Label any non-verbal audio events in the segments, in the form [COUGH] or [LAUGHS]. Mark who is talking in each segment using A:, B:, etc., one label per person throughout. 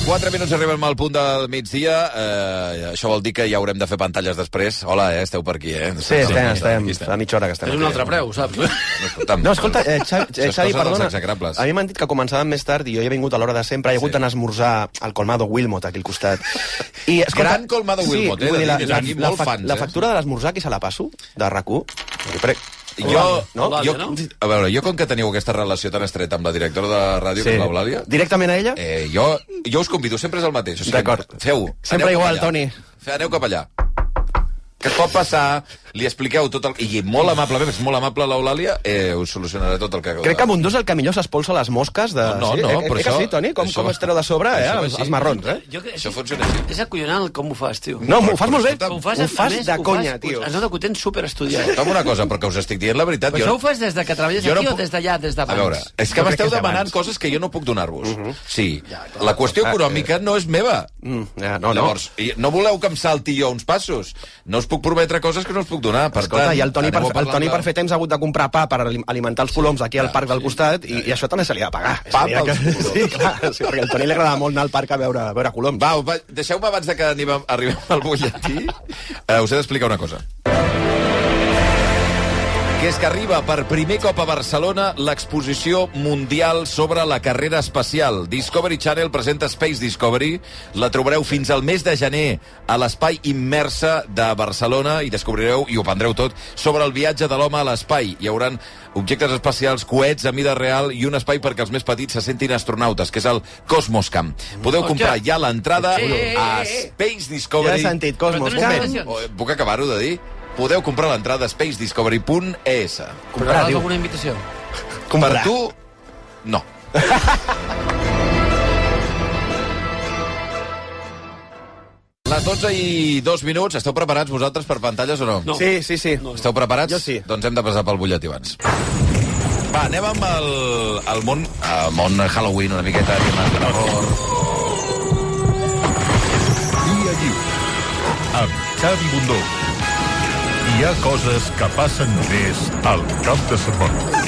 A: 4 minuts arribem al punt del migdia. Eh, això vol dir que ja haurem de fer pantalles després. Hola, eh, esteu per aquí, eh?
B: Sí, estem, estem, a mitja hora que estem.
C: És un
B: aquí.
C: altre preu, saps?
A: Escolta'm,
B: No, escolta, eh, Xavi,
A: Això
B: eh,
A: és
B: Xavi
A: cosa dels
B: perdona.
A: execrables.
B: A mi m'han dit que començàvem més tard i jo he vingut a l'hora de sempre. He hagut
A: Sí.
B: d'anar a esmorzar al Colmado Wilmot, aquí al costat. I,
A: Gran Colmado Wilmot, eh,
B: vull dir, la,
A: de dir,
B: la,
A: aquí
B: la,
A: molt
B: fa-
A: fans,
B: la
A: eh?
B: factura de l'esmorzar, qui se la passo? De RAC1? Jo crec...
A: Jo,
B: no?
A: no? jo,
C: no?
A: a veure, jo com que teniu aquesta relació tan estreta amb la directora de ràdio, sí. que és l'Eulàlia,
B: Directament a ella?
A: eh, jo, jo us convido, sempre és el mateix. O sigui,
B: D'acord.
A: Feu.
B: Sempre
A: aneu cap
B: igual,
A: allà.
B: Toni.
A: Fe- Aneu cap allà. Que es pot passar, li expliqueu tot el... I molt amablement, és molt amable l'Eulàlia, eh, us solucionarà tot el que...
B: Crec que amb un dos el que millor s'espolsa les mosques de...
A: No, no,
B: sí,
A: no,
B: eh,
A: però
B: eh, que
A: això-
B: sí, Toni? Com,
A: això-
B: com es treu de sobre, eh?
A: això va
B: Els,
A: així.
B: els marrons, eh?
C: Jo, crec-
A: Això funciona així.
C: És acollonant el com ho fas, tio.
B: No, m'ho fas molt bé.
A: Escolta,
C: ho fas,
B: Ho fas
C: a més,
B: de
C: ho
B: conya,
C: fas- Ah,
B: tio.
C: Es nota que ho tens superestudiat.
A: Escolta'm una cosa, perquè us estic dient la veritat.
C: Però això ho fas des de que treballes
A: jo
C: aquí
A: no
C: o
A: puc-
C: des d'allà, des
A: A
C: d'abans?
A: veure, és que
B: Jo crec que
A: m'esteu
B: és Mhm. d'abans.
A: demanant coses que jo no puc donar-vos. Sí, la qüestió econòmica no és meva.
B: Mm, ja, Ah, eh. no, no.
A: Llavors, i- no voleu que em salti jo uns passos. No us puc prometre coses que no us puc donar. Per
B: Escolta,
A: tant,
B: i el Toni, per,
A: aneu a
B: el
A: parlar
B: Toni
A: amb la-
B: per fer temps ha hagut de comprar pa per alim- alimentar els coloms aquí al
A: clar,
B: parc del
A: sí.
B: costat i, i això també se li ha de pagar.
A: Pa
B: És a dir,
A: pels
B: que-
A: coloms.
B: [LAUGHS] Sí, clar, sí, perquè al Toni li agrada molt anar al parc a veure, a veure coloms.
A: Va, va deixeu-me abans de que arribem, arribem al
B: [LAUGHS]
A: butlletí. Uh, us he d'explicar una cosa. Que és que arriba per primer cop a Barcelona l'exposició mundial sobre la carrera espacial. Discovery Channel presenta Space Discovery. La trobareu fins al mes de gener a l'espai immersa de Barcelona i descobrireu, i ho aprendreu tot, sobre el viatge de l'home a l'espai. Hi haurà objectes espacials, coets a mida real i un espai perquè els més petits se sentin astronautes, que és el Cosmoscam. Podeu comprar ja l'entrada
C: Eh, eh, eh,
A: a
C: eh.
A: Space
B: Ja
A: Discovery.
B: he sentit, Cosmos,
C: Però
B: un
C: tu no
B: moment.
C: estàs-
A: Oh, eh, Puc acabar-ho de dir? Podeu comprar l'entrada a spacediscovery.es.
C: Compraràs
B: diu.
C: alguna invitació?
B: Comprar.
A: Per tu, no. Les 12 i 2 minuts, esteu preparats vosaltres per pantalles o no?
C: No.
B: Sí, sí, sí.
C: No.
A: Esteu preparats?
B: Jo sí.
A: Doncs hem de passar pel butlletí abans. Va, anem amb el, el món, el món Halloween una miqueta, temes de l'amor...
D: Dia lliure amb Xavi Bundó. Hi ha coses que passen més al cap de setmana.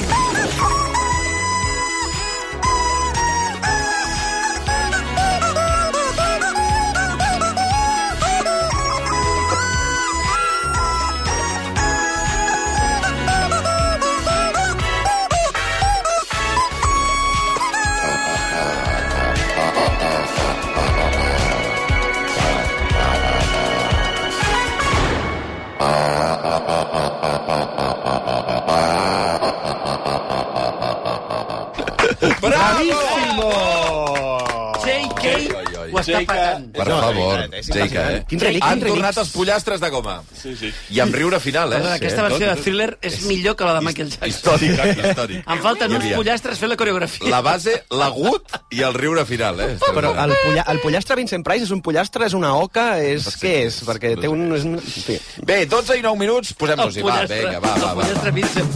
A: Bravo!
C: J.K.
A: Oh, Oi, oi, oi.
C: ho està patant.
A: Per favor,
B: és
A: Jeica, eh?
B: impressionant. Quin remix,
A: Han
B: quin remix.
A: tornat els pollastres de goma. Sí, sí. I amb riure final, eh?
C: Perdona, Aquesta versió de Thriller és millor que la de Michael Jackson.
A: Històrica, històrica.
C: Em falten
A: Hi
C: uns
A: havia
C: pollastres fent la coreografia.
A: La base, l'agut i el riure final, eh?
B: Però el, polla, el pollastre Vincent Price és un pollastre, és una oca, és...
A: No sé.
B: Què és? Perquè té un... És un... en fi.
A: Bé, 12 i 9 minuts,
C: El
A: posem-nos-hi. Va,
C: pollastre,
A: vinga, va, va,
C: el
A: va.
C: pollastre Vincent.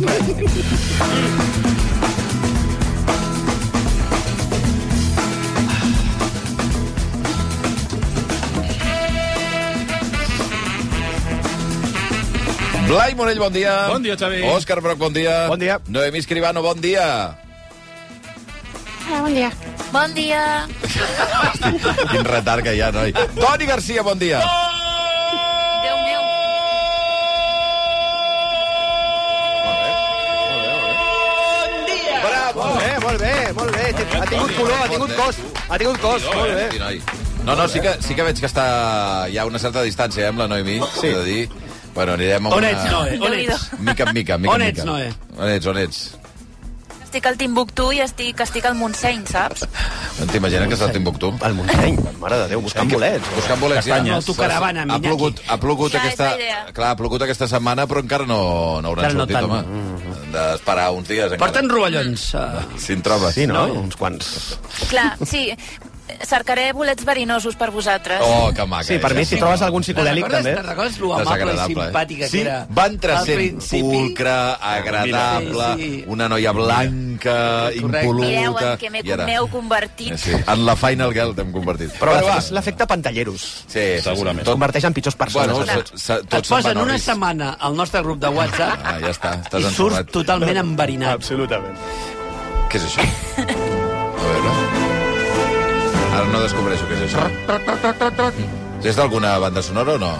A: Blai Morell, bon dia.
E: Bon dia, Xavi.
A: Òscar Broc, bon dia.
B: Bon dia.
A: Noemí Escribano, bon dia.
F: Hola, Ah, bon dia. Bon dia.
A: Quin retard que hi ha, noi. Toni Garcia, bon dia.
F: Déu meu.
A: Bravo!
B: Molt bé, molt bé, molt bé. Ha tingut color, ha tingut cos. Ha tingut cos, molt
A: Sí,
B: bé.
A: noi. No, no, sí que, sí que veig que està... Hi ha una certa distància, eh, amb la Noemí. Sí. De dir... Bueno, anirem a
C: On
A: una...
C: ets, Noe? On ets?
A: Mica en mica, mica
C: On
A: en
C: ets,
A: mica.
C: Noe?
A: On ets, on ets?
F: Estic al Timbuktu i estic, estic al Montseny, saps?
A: No t'imagines que està Timbuktu?
B: El Montseny, mare de Déu, buscant bolets.
A: Buscant bolets, ja.
C: Castanyes. Autocaravana,
A: Ha
C: Miñaki.
A: plogut, ha plogut
F: Ja, és
A: aquesta...
F: la idea.
A: Clar, ha plogut aquesta setmana, però encara no, no hauran
C: Encara no
A: sortit,
C: tant.
A: home. Hem D'esperar uns dies, encara.
C: Porten rovellons. eh,
A: Si en trobes.
F: [LAUGHS]
B: Sí, no? Uns quants.
F: Clar, sí. cercaré bolets verinosos per vosaltres.
A: Oh, que maca.
B: Sí, per mi,
A: és.
B: si trobes algun
C: Te'n
B: psicodèlic,
C: recordes,
B: també.
C: te'n recordes lo amable i
A: Desagradable, eh?
C: simpàtica
A: sí,
C: que era?
A: va entrar
C: al
A: sent
C: principi?
A: pulcra, agradable,
C: Sí, sí.
A: una noia blanca,
C: Correcte.
F: Mireu
A: impoluta...
F: en què m'he-
A: i ara- eh,
F: m'heu convertit.
A: Sí, en la Final Girl t'hem convertit.
B: Però és l'efecte pantalleros.
A: Sí,
E: Segurament.
A: Tot,
B: Converteix en pitjors persones.
A: bueno,
B: Bueno,
A: se, se,
C: Et
A: tots se'n
C: posen
A: van
C: una
A: orris.
C: setmana al nostre grup de WhatsApp
A: [LAUGHS] Ah, ja està,
C: i
A: estàs
C: surts
A: ensorrat.
C: totalment enverinat.
E: Absolutament.
A: Què és això? A veure... Ara no descobreixo què és això. És d'alguna banda sonora o no?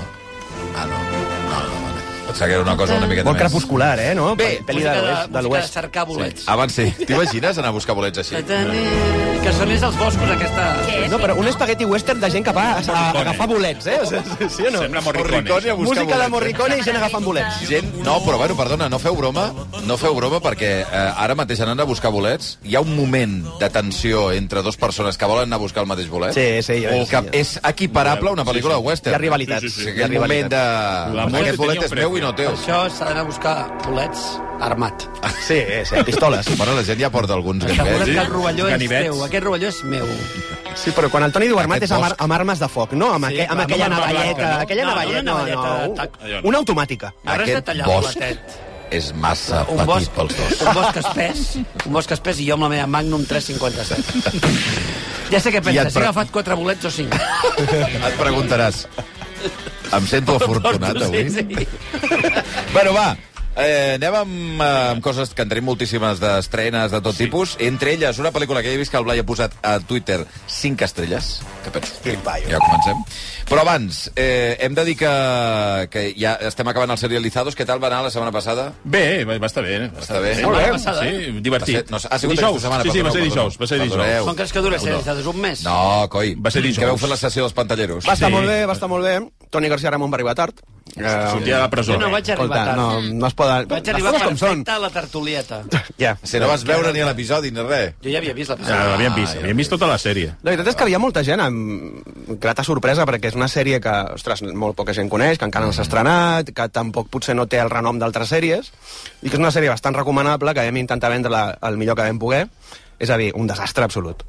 A: Ah, no. No, no, vale. Pensava que era una cosa una miqueta
B: Molt
A: més...
B: crepuscular, eh, no?
A: Bé,
B: pel·li de l'oest- de
C: música de
B: l'oest.
C: cercar bolets.
A: Abans sí. Ah, T'imagines anar a buscar bolets així?
C: Que sonés als boscos aquesta...
F: Què és?
B: No, però un espagueti western de gent que va a, a a agafar bolets, eh? O sigui, sí o no?
E: Sembla
A: Morricone
E: Morricone.
A: a buscar
B: Música de
A: bolets.
B: Morricone i gent agafant bolets.
A: Gent, no, però bueno, perdona, no feu broma, no feu broma perquè eh, ara mateix anant a buscar bolets hi ha un moment de tensió entre dues persones que volen anar a buscar el mateix bolet.
B: Sí, sí, jo
A: o
B: veig,
A: que
B: sí.
A: és equiparable a una pel·lícula de western.
B: Hi ha rivalitat.
E: Sí, sí, sí.
A: Sí,
B: Hi ha
A: aquell moment
B: rivalitat.
A: de...
E: L'amor
A: Aquest
E: tenia
A: bolet
E: un
A: és meu i no teu.
C: Això s'ha d'anar a buscar bolets armat.
B: Sí, sí, pistoles.
A: [LAUGHS] Bueno, la gent ja porta alguns
C: Que volen que el
A: ganivets.
C: rovelló és
E: Ganivets.
C: teu. Aquest rovelló és meu.
B: Sí, però quan el Toni diu armat
A: Aquest
B: és amb, ar-
A: bosc.
B: amb armes de foc, no? Amb,
C: Sí,
B: aqu amb
C: no
B: aquella
C: amb arma
B: navalleta.
C: blanca, no?
B: Aquella
C: No, no,
B: navalleta, Ah. no,
C: una navalleta de
B: no.
C: tac.
B: un- Una automàtica.
C: Ara has de
A: Aquest
C: tallar el
A: bosc
C: boletet.
A: és massa
C: Un
A: petit
C: bosc,
A: pels dos.
C: un bosc espès, un bosc espès i jo amb la meva Magnum
A: [LAUGHS]
C: 357. Ja sé
A: I
C: què
A: et
C: penses,
A: pre-
C: si he agafat 4 bolets o 5.
A: Et preguntaràs. Em sento afortunat avui.
C: [LAUGHS] Sí, sí.
A: Bueno, va, eh, anem amb, eh, amb coses que en tenim moltíssimes d'estrenes de tot sí. tipus. Entre elles, una pel·lícula que he vist que el Blai ha posat a Twitter 5 estrelles. Que penso? Ja comencem. Però abans, eh, hem de dir que, que ja estem acabant els serializados. Què tal va anar la setmana passada?
E: Bé, va, va estar bé. Va
A: Està bé.
E: Molt
C: Setmana
E: bé.
C: passada.
E: Sí, divertit.
A: Va ser- no, ha sigut
E: dijous.
A: aquesta setmana,
E: Sí, sí,
A: perdoneu,
E: va ser
A: perdoneu.
E: dijous. Va ser
A: Perdoneu.
E: dijous.
C: Com creus que dura ser alçades? Un mes?
A: No, coi.
E: Va ser dijous.
A: Que vau fer la sessió dels pantalleros.
B: Va estar
E: Sí.
B: molt bé, va estar molt bé. Toni García Ramon va arribar tard. Eh,
E: Sortia de la presó.
C: Jo no vaig
B: Escolta,
C: arribar tard.
B: no, no es poden...
C: Vaig
B: Les
C: arribar
B: coses com són.
C: perfecte a la tertulieta.
B: Ja.
A: Si no vas veure ni l'episodi ni res.
C: Jo ja havia vist la
E: Ja,
C: passada.
E: l'havíem vist,
A: Ah, ja
E: havíem vist tota la sèrie.
B: La veritat és que hi ha molta gent amb grata sorpresa, perquè és una sèrie que, ostres, molt poca gent coneix, que encara no s'ha estrenat, que tampoc potser no té el renom d'altres sèries, i que és una sèrie bastant recomanable, que vam intentar vendre-la el millor que vam poder, és a dir, un desastre
A: [LAUGHS]
B: absolut.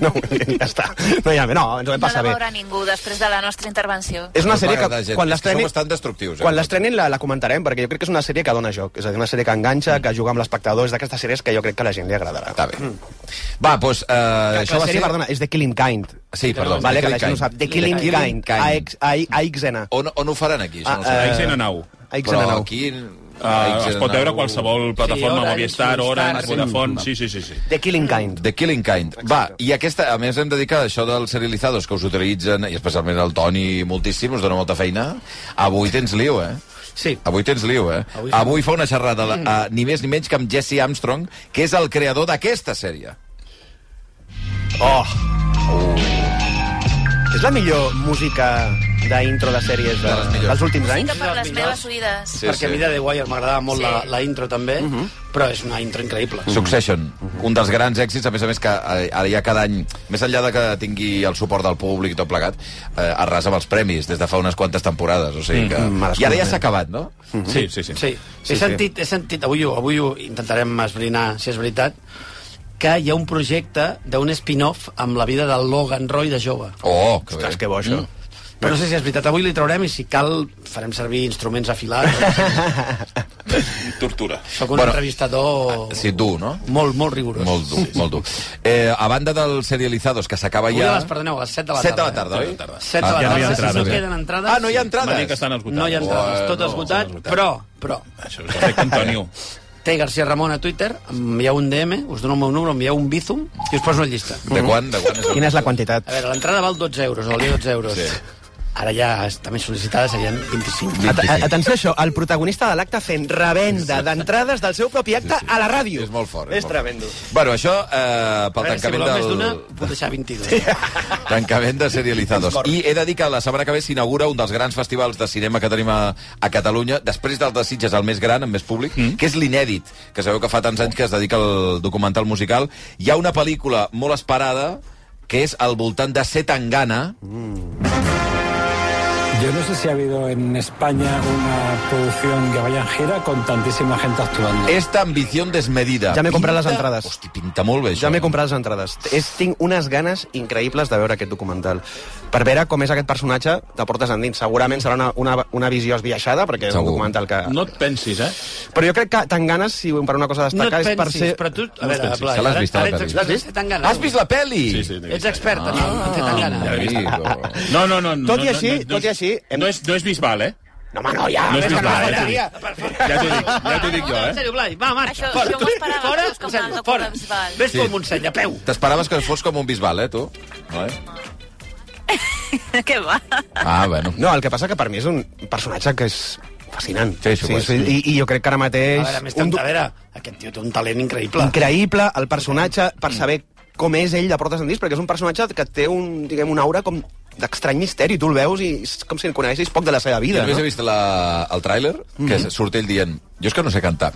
B: no, ja està. No, ja, no, ens ho vam
F: No la
B: passar bé.
F: veurà ningú després de la nostra intervenció.
B: És una
A: No
B: sèrie
A: paga de
B: que
A: gent.
B: quan
A: És que
B: l'estrenin
A: sou bastant destructius, eh?
B: quan l'estrenin la, la comentarem, perquè jo crec que és una sèrie que dona joc. És a dir, una sèrie que
A: Mm.
B: enganxa, que juga amb l'espectador, és d'aquestes sèries que jo crec que a la gent li agradarà.
A: Està bé. Va, doncs... Eh,
B: Que, que
A: això
B: la
A: va
B: sèrie,
A: ser...
B: perdona, és The Killing Kind.
A: Sí, perdó.
B: Vale,
A: The
B: que la gent
A: Killing
B: ho sap. The
A: Kind.
B: Killing,
A: The Killing
B: Kind. Oh, AX, AX, AXN.
A: On, on ho faran aquí?
B: Ah,
A: Això no ho sé.
E: Ahí
B: eh,
E: sent a nau.
B: AXN.
A: Però
B: no.
A: aquí...
E: Ah, es pot veure a qualsevol plataforma,
C: Orange,
E: Movistar,
C: Movistar,
E: Orange,
C: sí.
E: Vodafone... Sí, sí, sí. sí.
B: The Killing Kind.
A: The Killing Kind. Va, i aquesta, a més hem de dir que això dels serializados que us utilitzen, i especialment el Toni moltíssim, us dona molta feina, avui tens lío, eh?
C: Sí.
A: Avui tens lío, eh?
C: Avui
A: Avui,
C: sí.
A: fa una xerrada, la,
B: Mm.
A: a, ni més ni menys que amb Jesse Armstrong, que és el creador d'aquesta sèrie.
B: Oh. És la millor música d'intro de sèries de,
A: De les millors.
B: dels últims
F: Sí
B: anys?
F: que per les meves oïdes.
A: Sí, Mhm.
C: Perquè a mi de The Wire m'agradava molt
F: Sí.
C: la, la intro també, però és una intro increïble.
A: Succession, un dels grans èxits, a més a més que eh, ara ja cada any, més enllà de que tingui el suport del públic i tot plegat, eh, arrasa amb els premis des de fa unes quantes temporades, o sigui que...
B: Mm,
C: Mhm,
B: merescut,
A: I ara ja
B: eh?
A: s'ha acabat, no?
E: Sí, sí, sí.
C: Sí,
B: Sí, sí.
C: he sentit, he sentit avui, ho- avui ho intentarem esbrinar, si és veritat, que hi ha un projecte d'un spin-off amb la vida del Logan Roy de jove.
A: Oh, que
B: Ostres,
A: bé.
B: que bo, això.
C: Però no sé si és veritat, avui li traurem i si cal farem servir instruments afilats.
E: Tortura.
C: Soc un
A: Bueno, ah,
C: bueno, entrevistador
A: Sí, tu, no?
C: molt, molt rigorós.
A: Molt dur, molt dur. Eh, a banda dels serializados, que s'acaba
C: Avui a
A: ja...
C: les, perdoneu, a les 7 de la
A: Set de la
C: tarda.
A: tarda,
C: eh?
A: oi?
E: tarda.
C: Set de la
A: Ah,
E: ja no hi ha
C: tarda, si no
E: entrades.
C: queden entrades...
A: Ah, no hi ha
E: M'ha dit que
A: entrades?
E: estan esgotades.
C: No hi ha entrades,
A: Bueno,
C: tot esgotat,
E: esgotat.
C: però, però,
E: Això és efecte Antonio.
C: Té García Ramon a Twitter, em envieu un DM, us dono el meu número, em envieu un bízum i us poso una llista.
A: De quan? De quan és
B: Quina és la quantitat?
C: A veure, l'entrada val 12 euros, valia 12 euros. Sí. Ara ja està més sol·licitada, serien 25.
B: At atenció a això, el protagonista de l'acte fent revenda d'entrades del seu propi acte a la ràdio.
A: És molt fort.
B: És
A: molt fort.
B: tremendo.
A: Bueno, això eh,
C: A
A: pel
C: veure, si
A: tancament
C: voleu
A: del...
C: més d'una, puc deixar 22.
A: Tancament de serializados. I he de dir que la setmana que ve s'inaugura un dels grans festivals de cinema que tenim a, a Catalunya, després del de Sitges, el més gran, amb més públic, mm. que és l'Inèdit, que sabeu que fa tants anys que es dedica al documental musical. Hi ha una pel·lícula molt esperada, que és al voltant de Setangana, mm.
G: Yo no sé si ha habido en España una producción que vaya en gira con tantísima gente actuando.
H: Eh,
A: Esta ambición desmedida.
B: Ja m'he comprat les
A: Pinta-
B: entrades.
A: Hosti, pinta molt bé, això.
B: Ja m'he comprat les entrades. És, tinc unes ganes increïbles de veure aquest documental. Per veure com és aquest personatge de portes endins. Segurament serà una, una, una visió esbiaixada, perquè és un
A: Segur.
B: documental que...
E: No et pensis, eh?
B: Però jo crec que tant ganes, si per una cosa a
C: No et
B: destacar,
C: pensis,
B: és per ser...
C: però tu... A
E: No et
C: veure,
E: pensis.
C: Blai,
A: Se l'has
C: ara-
A: vist, la
C: ara ets
A: pel·li.
C: expert, no tan gana.
A: Has vist la peli?
E: Sí, sí,
C: Ets expert, ah, no té tan
B: [LAUGHS]
C: gana.
A: Amigo.
E: No, no, no. no
B: Tot i
E: no,
B: així,
E: no, no,
B: tot i
E: és-
B: així, hem-
E: No és, no és Bisbal, eh?
B: No, home, no, ja!
E: No és
C: que no
E: Bisbal,
C: faltaria.
E: eh? t'ho dic. Ja t'ho dic, ja t'ho dic jo,
C: En
E: eh?
C: sèrio, Blai, va, marxa.
F: Això-
C: Fora,
F: això m'ho esperava,
C: fora,
F: això és com
C: posem-lo,
F: una copa
C: fora.
F: de bisbal.
C: Ves
A: Sí.
C: com Montseny, a peu.
A: T'esperaves que fos com un bisbal, eh, tu? No, eh?
F: [LAUGHS] Què va?
A: Ah, bueno.
B: No, el que passa que per mi és un personatge que és fascinant.
A: Sí, això ho és, sí.
B: I, I jo crec que ara
C: A
B: mateix...
C: veure, més
B: un
C: tant,
B: do-
C: a veure, aquest tio té un talent increïble.
B: increïble el personatge per saber com és ell de portes endins, perquè és un personatge que té un, diguem, un aura com d'estrany misteri. Tu el veus i és com si el coneguessis poc de la seva
A: Jo
B: vida,
A: només he
B: no? Mhm.
A: vist la, el tràiler, que surt ell dient jo és que no sé cantar.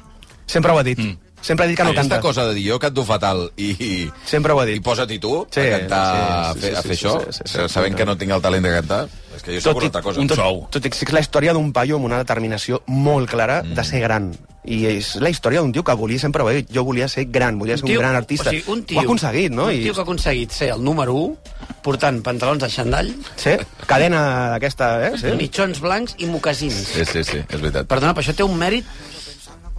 B: Sempre ho ha dit.
C: Mm.
B: Sempre ha dit que Ah, no
A: Aquesta
B: canta.
A: cosa de dir jo canto fatal i, i,
B: Sempre ho ha dit.
A: i posa't i tu
B: Sí,
A: a cantar,
B: sí,
A: a fer,
B: sí,
A: a
B: sí,
A: fer
B: sí,
A: això,
B: sí, sí, sí, sí,
A: sabent
B: sí.
A: que no tinc el talent de cantar. És que jo sóc
B: Tot
A: una
B: i-
A: altra cosa.
E: Un sou.
B: Tot i que és la història d'un paio amb una determinació molt clara
C: Mm.
B: de ser gran. I és la història d'un tio que volia, sempre ho ha dit, jo volia ser gran, volia ser un, gran artista.
C: O sigui, un tio,
B: ho ha aconseguït, no?
C: Un tio que ha aconseguit ser el número 1, portant pantalons de xandall,
B: Sí, cadena d'aquesta, eh?
C: sí.
B: Sí.
C: mitjons blancs i mocassins.
A: Sí, sí, sí, és veritat.
C: Perdona, però això té un mèrit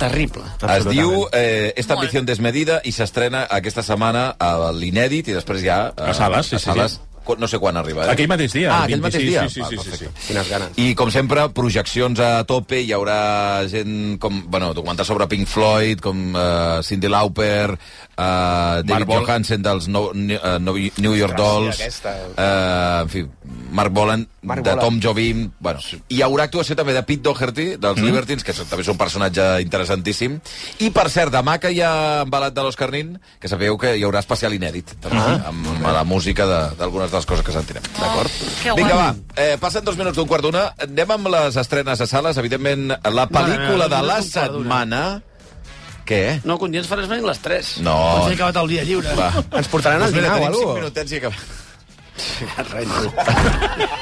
C: terrible.
A: Es
B: Absolutament.
A: diu eh, Esta
F: Molt.
A: ambición desmedida i s'estrena aquesta setmana a l'Inèdit i després ja... eh,
E: A sales, sí,
A: a
E: sí,
A: sales.
E: sí.
A: Quan- No sé quan arriba. Eh?
E: Aquell mateix dia.
A: Ah,
E: el
A: aquell mateix
E: 26,
A: dia.
E: Sí, sí,
A: Ah,
E: sí, sí, sí.
B: Quines ganes.
A: I, com sempre, projeccions a tope, hi haurà gent com, bueno, documentar sobre Pink Floyd, com uh, Cindy Lauper, uh, David
E: Mark Bolan.
A: Johansen dels no, New, uh, New York Dolls,
B: aquesta.
A: uh, en fi, Mark Bolan,
B: Mark
A: de
B: Bolan.
A: Tom Jobim, bueno, hi haurà actuació també de Pete Doherty, dels
C: Mm.
A: Libertines, que també és un personatge interessantíssim, i, per cert, demà que hi ha embalat de l'Òscar Nin, que sabeu que hi haurà especial inèdit, també,
C: Ah.
A: amb, amb la música de- d'algunes de, de les coses que sentirem, d'acord?
F: Oh, que
A: Vinga,
F: guai.
A: va, Eh, passen dos minuts d'un quart d'una. Anem amb les estrenes a sales. Evidentment, la pel·lícula
C: no,
A: de
C: no,
A: la
C: no, d'un quart d'una.
A: setmana... Què?
C: No, quan dius faràs venir les 3.
A: No.
C: Potser he acabat el dia lliure.
A: Va.
B: Ens portaran al
A: Doncs mira,
B: dinar o
A: tenim cinc
B: alguna cosa?
A: minutets i acabem.
C: Et rento.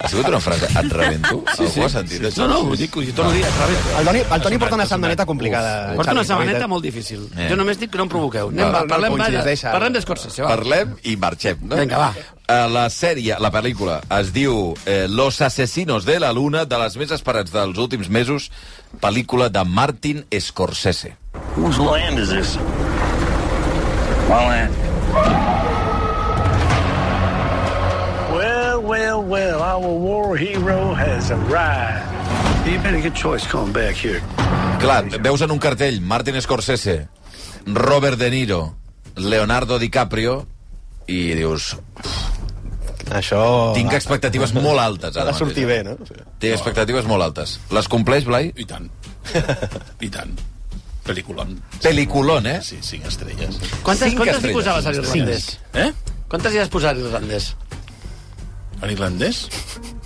A: Ha sigut una frase, et rebento? Sí, sí, Algú ha sentit això?
C: No, no, ho dic, ho dic tot el dia, et rento.
B: El Toni, el Toni porta una setmaneta complicada. Xavi,
C: Porta una
B: la veritat.
C: setmaneta molt difícil.
A: Eh.
C: Jo només dic que no em provoqueu.
A: Va,
C: Anem, va,
A: no
C: parlem,
B: punxis,
C: va,
B: deixa.
C: parlem d'Escorsese, va.
A: Parlem i marxem, no?
C: Vinga, va.
A: Eh, La sèrie, la pel·lícula, es diu eh, Los asesinos de la luna, de les més esperats dels últims mesos, pel·lícula de Martin Scorsese.
H: Whose land is this? My land. Well, well, well, our war hero has arrived. You made a good choice coming back here.
A: Clar, veus en un cartell Martin Scorsese, Robert De Niro, Leonardo DiCaprio i dius,
B: Això...
A: tinc expectatives molt altes
B: Ha
A: ara
B: de sortir
A: mateix. eh?
B: bé, no?
A: Té expectatives molt altes. Les compleix, Blai?
E: I tant. I tant. Pel·lícula.
A: Peliculón, eh?
E: Sí, cinc estrelles.
C: Quantes,
A: Cinc
C: quantes hi
A: estrelles.
C: posaves a l'irlandès?
E: Eh?
C: Quantes hi has posat a l'irlandès?
E: En irlandès?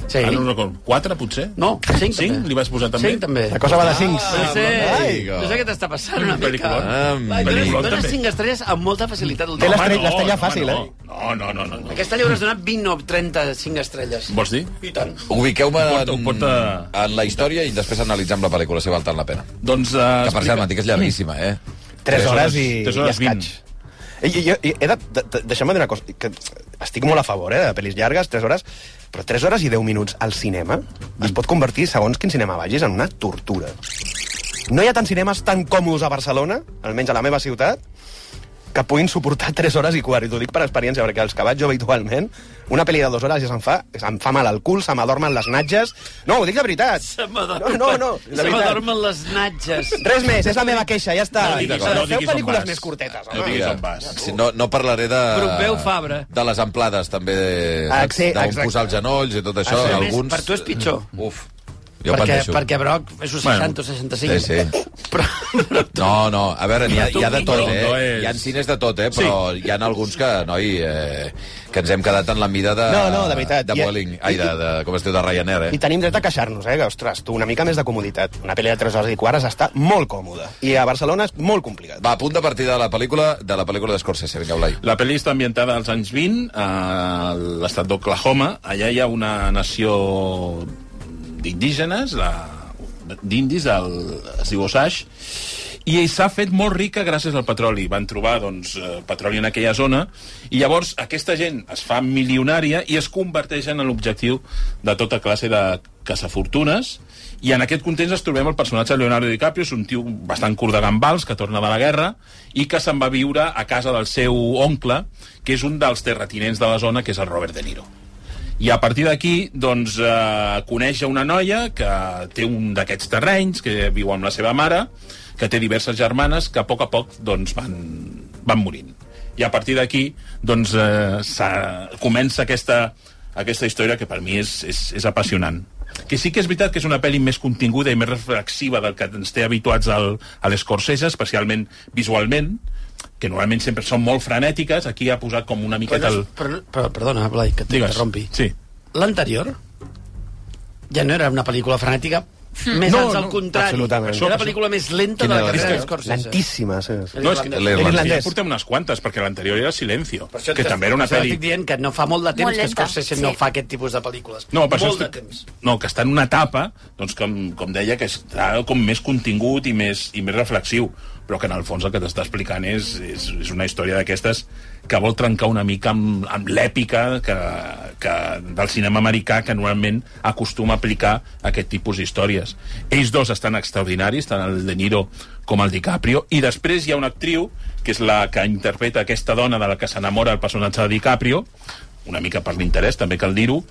C: Sí.
E: Ah, no, no, com- quatre, potser?
C: No, cinc,
E: Cinc?
C: també.
E: Li vas posar també?
C: Cinc, també. Ah,
B: La cosa va de 5.
C: No sé,
A: amigo.
C: no sé què t'està passant una mica.
E: Pel·lícula.
C: Ai, dones,
A: Pel·lícula,
C: dones
E: també.
C: 5 estrelles amb molta facilitat. al
B: Té
C: Tom.
B: les- l'estrella- l'estrella fàcil,
E: home, no. No, no, no, no.
C: Aquesta li hauràs donat 20 o 35 estrelles.
E: Vols dir?
C: I tant.
A: Ubiqueu-me
E: Ho porta- ho eh,
A: en,
E: porta-
A: en la història i després analitzem la pel·lícula, si val tant la pena.
E: Doncs... Uh,
A: Que, per cert, m'han dit que és llarguíssima, eh?
B: 3 hores i,
E: tres
B: i
E: hores
B: escaig. I, jo, i he de, de, de, deixa'm dir una cosa, que estic molt a favor eh, de pel·lis llargues, 3 hores, però 3 hores i 10 minuts al cinema
E: Mm.
B: es pot convertir, segons quin cinema vagis, en una tortura. No hi ha tants cinemes tan còmodes a Barcelona, almenys a la meva ciutat, que puguin suportar 3 hores i quart. I t'ho dic per experiència, perquè els que vaig jo habitualment, una pel·li de 2 hores ja se'm fa, em fa mal al cul, se m'adormen les natges... No, ho dic de veritat!
C: Se
B: no,
C: m'adormen
B: no, no, de
C: se
B: veritat.
C: m'adormen les natges.
B: Res més, és la meva queixa, ja està.
E: No diguis-
B: Feu
E: no diguis on
B: pel·lícules
E: vas.
B: més curtetes,
E: No
B: home.
E: diguis on vas.
A: Sí, no, no parlaré de...
C: Pompeu Fabra.
A: De les amplades, també, de,
B: Ah, sí,
A: d'on
B: exacte.
A: posar els genolls i tot això.
C: Això, a més,
A: Alguns...
C: per tu és pitjor.
A: Uf. Jo
C: perquè,
A: pateixo.
C: perquè Brock és un 60 o 65.
A: Sí, sí.
C: Però, però tu,
A: No, no, a veure, n'hi ha, hi ha de tot, eh?
E: No és-
A: Hi ha cines de tot, eh? Però hi ha alguns que, noi, eh, que ens hem quedat en la mida de...
B: No, no, de veritat.
A: De
B: Hi ha-
A: Vueling. Ai, de, de, com es diu, de Ryanair,
B: I
A: eh?
B: tenim dret a queixar-nos, eh? Que, ostres, tu, una mica més de comoditat. Una pel·li de 3 hores i quarts està molt còmoda. I a Barcelona és molt complicat.
A: Va, punt de partida de la pel·lícula de la pel·lícula d'Escorsese. Vinga, Blai.
E: La pel·li està ambientada als anys 20, a l'estat d'Oklahoma. Allà hi ha una nació d'indígenes, la- d'indis, el- es diu Osage, i s'ha fet molt rica gràcies al petroli. Van trobar doncs, eh, petroli en aquella zona, i llavors aquesta gent es fa milionària i es converteixen en l'objectiu de tota classe de caçafortunes, i en aquest context ens trobem el personatge de Leonardo DiCaprio, és un tio bastant curt de gambals, que torna de la guerra, i que se'n va viure a casa del seu oncle, que és un dels terratinents de la zona, que és el Robert De Niro. I a partir d'aquí, doncs, eh, coneix a una noia que té un d'aquests terrenys, que viu amb la seva mare, que té diverses germanes que a poc a poc doncs, van, van morint. I a partir d'aquí, doncs, eh, s'ha- comença aquesta, aquesta història que per mi és, és, és apassionant. Que sí que és veritat que és una pel·li més continguda i més reflexiva del que ens té habituats al, a les Corsese, especialment visualment, que normalment sempre són molt frenètiques, aquí ha posat com una
C: però,
E: miqueta
C: no,
E: el...
C: és- però, però, perdona, Blai, que t'interrompi.
E: Sí.
C: L'anterior ja no era una pel·lícula frenètica, més
E: No,
C: no, al
E: no,
C: contrari.
B: absolutament.
C: Era la pel·lícula més lenta de
A: Quina
C: Tota la
A: era la
C: carrera
A: que-
C: de Scorsese.
B: Lentíssima, sí. sí.
E: No, és que
C: L'irlandès.
E: l'irlandès.
B: L'irlandès.
E: Ja portem unes quantes, perquè l'anterior era Silencio,
C: Per això
E: que
C: t'estic-
E: també era una
C: per això
E: pel·li...
C: Estic dient que no fa molt de temps
F: Molt
C: que
F: lenta,
C: Scorsese
F: sí.
C: no fa aquest tipus de pel·lícules.
E: No, per
C: molt
E: això
C: de temps.
E: estic... no, que està en una etapa, doncs, com, com deia, que està com més contingut i més, i més reflexiu, però que en el fons el que t'està explicant és, és, és una història d'aquestes que vol trencar una mica amb, amb l'èpica que, que, del cinema americà que normalment acostuma a aplicar aquest tipus d'històries. Ells dos estan extraordinaris, tant el De Niro com el DiCaprio, i després hi ha una actriu que és la que interpreta aquesta dona de la que s'enamora el personatge de DiCaprio, una mica per l'interès, també cal dir-ho,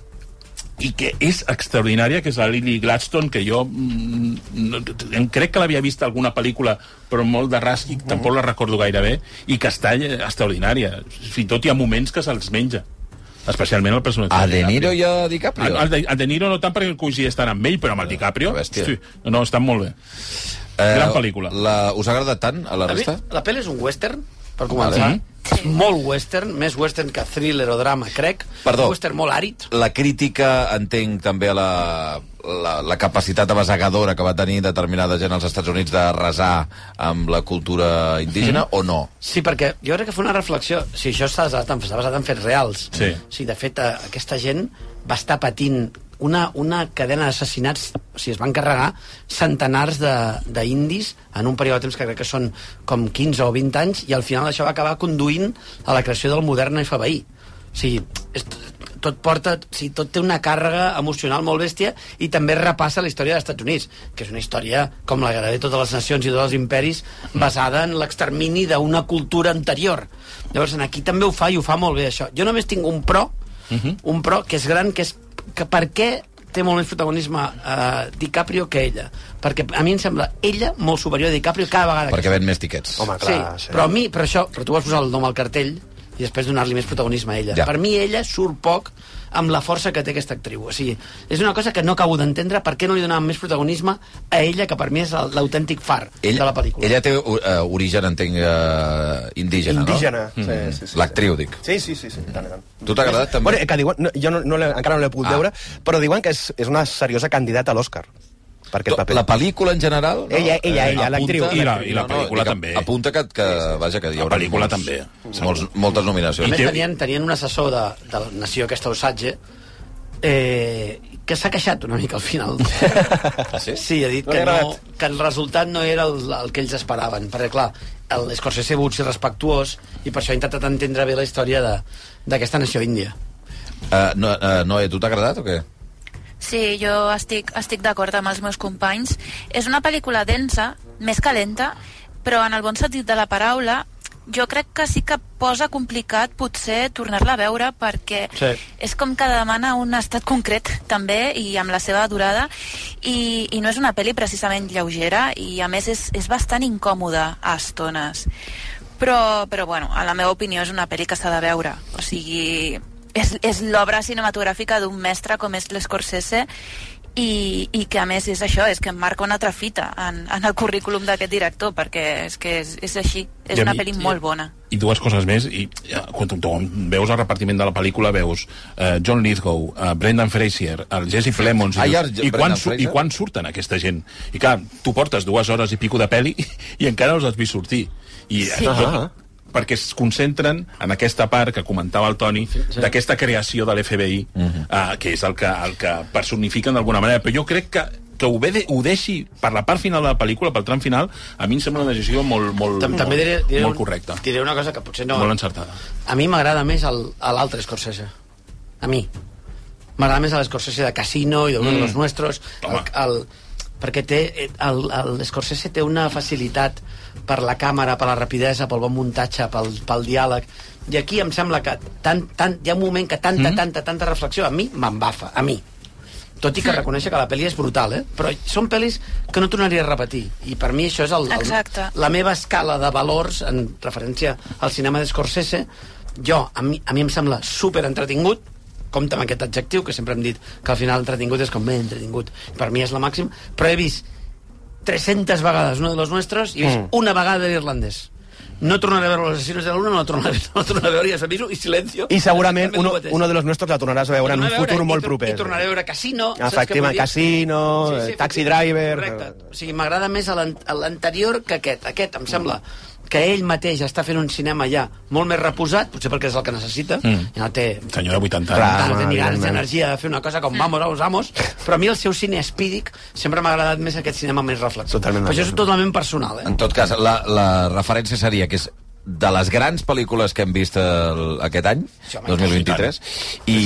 E: i que és extraordinària, que és la Lily Gladstone, que jo mm, no, em crec que l'havia vist a alguna pel·lícula, però molt de ras, i tampoc la recordo gaire bé, i que està eh, extraordinària. Fins i tot hi ha moments que se'ls menja, especialment el personatge.
A: A De Niro i
E: DiCaprio.
A: a
E: El,
A: DiCaprio.
E: el, Ah, de, el De Niro no tant perquè coincideix tant amb ell, però amb el DiCaprio...
A: bèstia.
E: hosti, No, estan molt bé. gran pel·lícula.
A: Eh, La, us ha agradat tant, a la
C: A mi,
A: resta?
C: la pel·li és un western, per començar. És molt western, més western que thriller o drama, crec.
A: Perdó.
C: Un western molt àrid.
A: La crítica, entenc, també a la, la, la capacitat abasegadora que va tenir determinada gent als Estats Units de resar amb la cultura indígena, mm. o no?
C: Sí, perquè jo crec que fa una reflexió. Si això està basat en, està basat en fets reals.
E: Sí.
C: sí de fet, eh, aquesta gent va estar patint una, una cadena d'assassinats, o sigui, es van carregar centenars de- d'indis en un període de temps que crec que són com 15 o 20 anys, i al final això va acabar conduint a la creació del modern FBI. O sigui, és, tot porta, o sigui, tot té una càrrega emocional molt bèstia i també repassa la història dels Estats Units, que és una història, com la gairebé totes les nacions i tots els imperis, basada en l'extermini d'una cultura anterior. Llavors, en aquí també ho fa i ho fa molt bé, això. Jo només tinc un pro, un pro que és gran, que és que per què té molt més protagonisme eh, DiCaprio que ella. Perquè a mi em sembla ella molt superior a DiCaprio cada vegada que
A: Perquè ven més tiquets.
B: Home, clar, sí.
C: però a mi, però això, però tu vas posar el nom al cartell i després donar-li més protagonisme a ella.
A: Ja.
C: Per mi ella surt poc amb la força que té aquesta actriu. O sigui, és una cosa que no acabo d'entendre per què no li donaven més protagonisme a ella, que per mi és l'autèntic far
A: Ell-
C: de la pel·lícula.
A: Ella té uh, origen, entenc, uh, indígena,
B: Indígena.
A: no?
B: Sí, sí, sí.
A: L'actriu, dic.
B: Sí, sí, sí, sí. i tant, i tant.
A: Tu t'ha agradat, també?
B: Bueno, eh, que diuen, no, jo no, no l'he- encara no l'he pogut
A: Ah.
B: ah. veure, però diuen que és, és una seriosa candidata a l'Oscar per aquest paper.
A: La pel·lícula en general... No?
B: Ella- ella- ella,
A: Eh,
B: l'actriu.
A: apunta-
E: I la- i la pel·lícula
A: dic,
E: també.
A: Apunta que, que vaja, que hi
E: La
A: haurà
E: pel·lícula
A: molts-
E: també.
A: Molts, moltes
C: A
A: nominacions.
C: més, tenien, tenien un assessor de, de la nació aquesta Osatge eh, que s'ha queixat una mica al
B: [LAUGHS]
C: final.
A: sí?
C: Sí, ha dit
B: Ah, No li
C: que,
B: ha
C: no,
B: agradat.
C: que el resultat no era el, el que ells esperaven, perquè clar, el Scorsese vol ser respectuós i per això ha intentat entendre bé la història de- d'aquesta nació índia.
A: Uh, no, uh, Noé, tu t'ha agradat o què?
F: Sí, jo estic, estic d'acord amb els meus companys. És una pel·lícula densa, més calenta, però en el bon sentit de la paraula, jo crec que sí que posa complicat potser tornar-la a veure perquè
C: Sí.
F: és com que demana un estat concret també i amb la seva durada i, i no és una pel·li precisament lleugera i a més és, és bastant incòmoda a estones però, però bueno, a la meva opinió és una pel·li que s'ha de veure o sigui, és, és l'obra cinematogràfica d'un mestre com és l'Escorsese i, i que a més és això, és que em marca una altra fita en, en el currículum d'aquest director perquè és que és, és així,
E: I
F: és
E: a
F: una
E: mi-
F: pel·li
E: i-
F: molt bona
E: I dues coses més, i eh, quan tu, tu veus el repartiment de la pel·lícula, veus eh, John Lithgow, eh, Brendan Fraser, el Jesse Plemons,
A: Ah,
E: i,
A: hi ha
E: dius,
A: Brendan
E: i, quan, su-
A: Fraser?
E: i quan surten aquesta gent? I clar, tu portes dues hores i pico de pel·li [LAUGHS] i encara els has vist sortir. I, eh,
F: Sí.
B: Ah.
E: perquè es concentren en aquesta part que comentava el Toni, d'aquesta creació de l'FBI, uh
C: Mhm.
E: -huh. uh, que és el que, el que personifiquen d'alguna manera. Però jo crec que que ho, ve de, ho deixi per la part final de la pel·lícula, pel tram final, a mi em sembla una decisió molt, molt,
C: Tam-
E: molt,
B: Mm.
C: També diré, diré,
E: molt
C: un-
E: correcta.
C: diré una cosa que potser no...
E: Molt encertada.
C: A mi m'agrada més el- a l'altre Scorsese. A mi. M'agrada més l'Scorsese de Casino i de mm. los Nuestros. El,
E: Home.
C: el, perquè té, el, el Scorsese té una facilitat per la càmera, per la rapidesa, pel bon muntatge, pel, pel diàleg. I aquí em sembla que tan, tan, hi ha un moment que tanta, mm. tanta, tanta reflexió a mi m'embafa, a mi. Tot i que reconèixer que la pel·li és brutal, eh? Però són pel·lis que no tornaria a repetir. I per mi això és el, el,
F: Exacte.
C: la meva escala de valors en referència al cinema de Scorsese, jo, a mi, a mi em sembla super entretingut, compta amb aquest adjectiu, que sempre hem dit que al final entretingut és com bé entretingut. Per mi és la màxim, però he vist 300 vegades uno de los nuestros i he vist mm. una vegada l'irlandès. No tornaré a veure Los Asesinos de la Luna, no la tornaré, no la tornaré a veure, ja s'aviso, i silencio.
B: I segurament
C: També
B: uno,
C: ho mateix.
B: uno de los nuestros la tornaràs a veure en un
C: Tornaré a
B: futur
C: i
B: molt
C: tor-
B: proper.
C: I tornaré a veure Casino. saps què vull
B: Efectivament,
C: dir?
B: Casino, eh, Taxi
C: efectivament,
B: Driver.
C: Correcte. O sigui, m'agrada més a l'an- a l'anterior que aquest. Aquest, em sembla que ell mateix està fent un cinema ja molt més reposat, potser perquè és el que necessita, mm. ja no té
E: Senyora 80
B: Clar.
E: anys.
C: tant,
B: home,
C: no té ni ganes
B: evidentment.
C: d'energia de fer una cosa com vamos, vamos, vamos, però a mi el seu cine espídic sempre m'ha agradat més aquest cinema més reflexiu.
B: Totalment
C: Però això és
B: d'acord.
C: totalment personal, eh?
A: En tot cas, la, la referència seria que és de les grans pel·lícules que hem vist el, aquest any,
C: Sí, home,
A: 2023, i...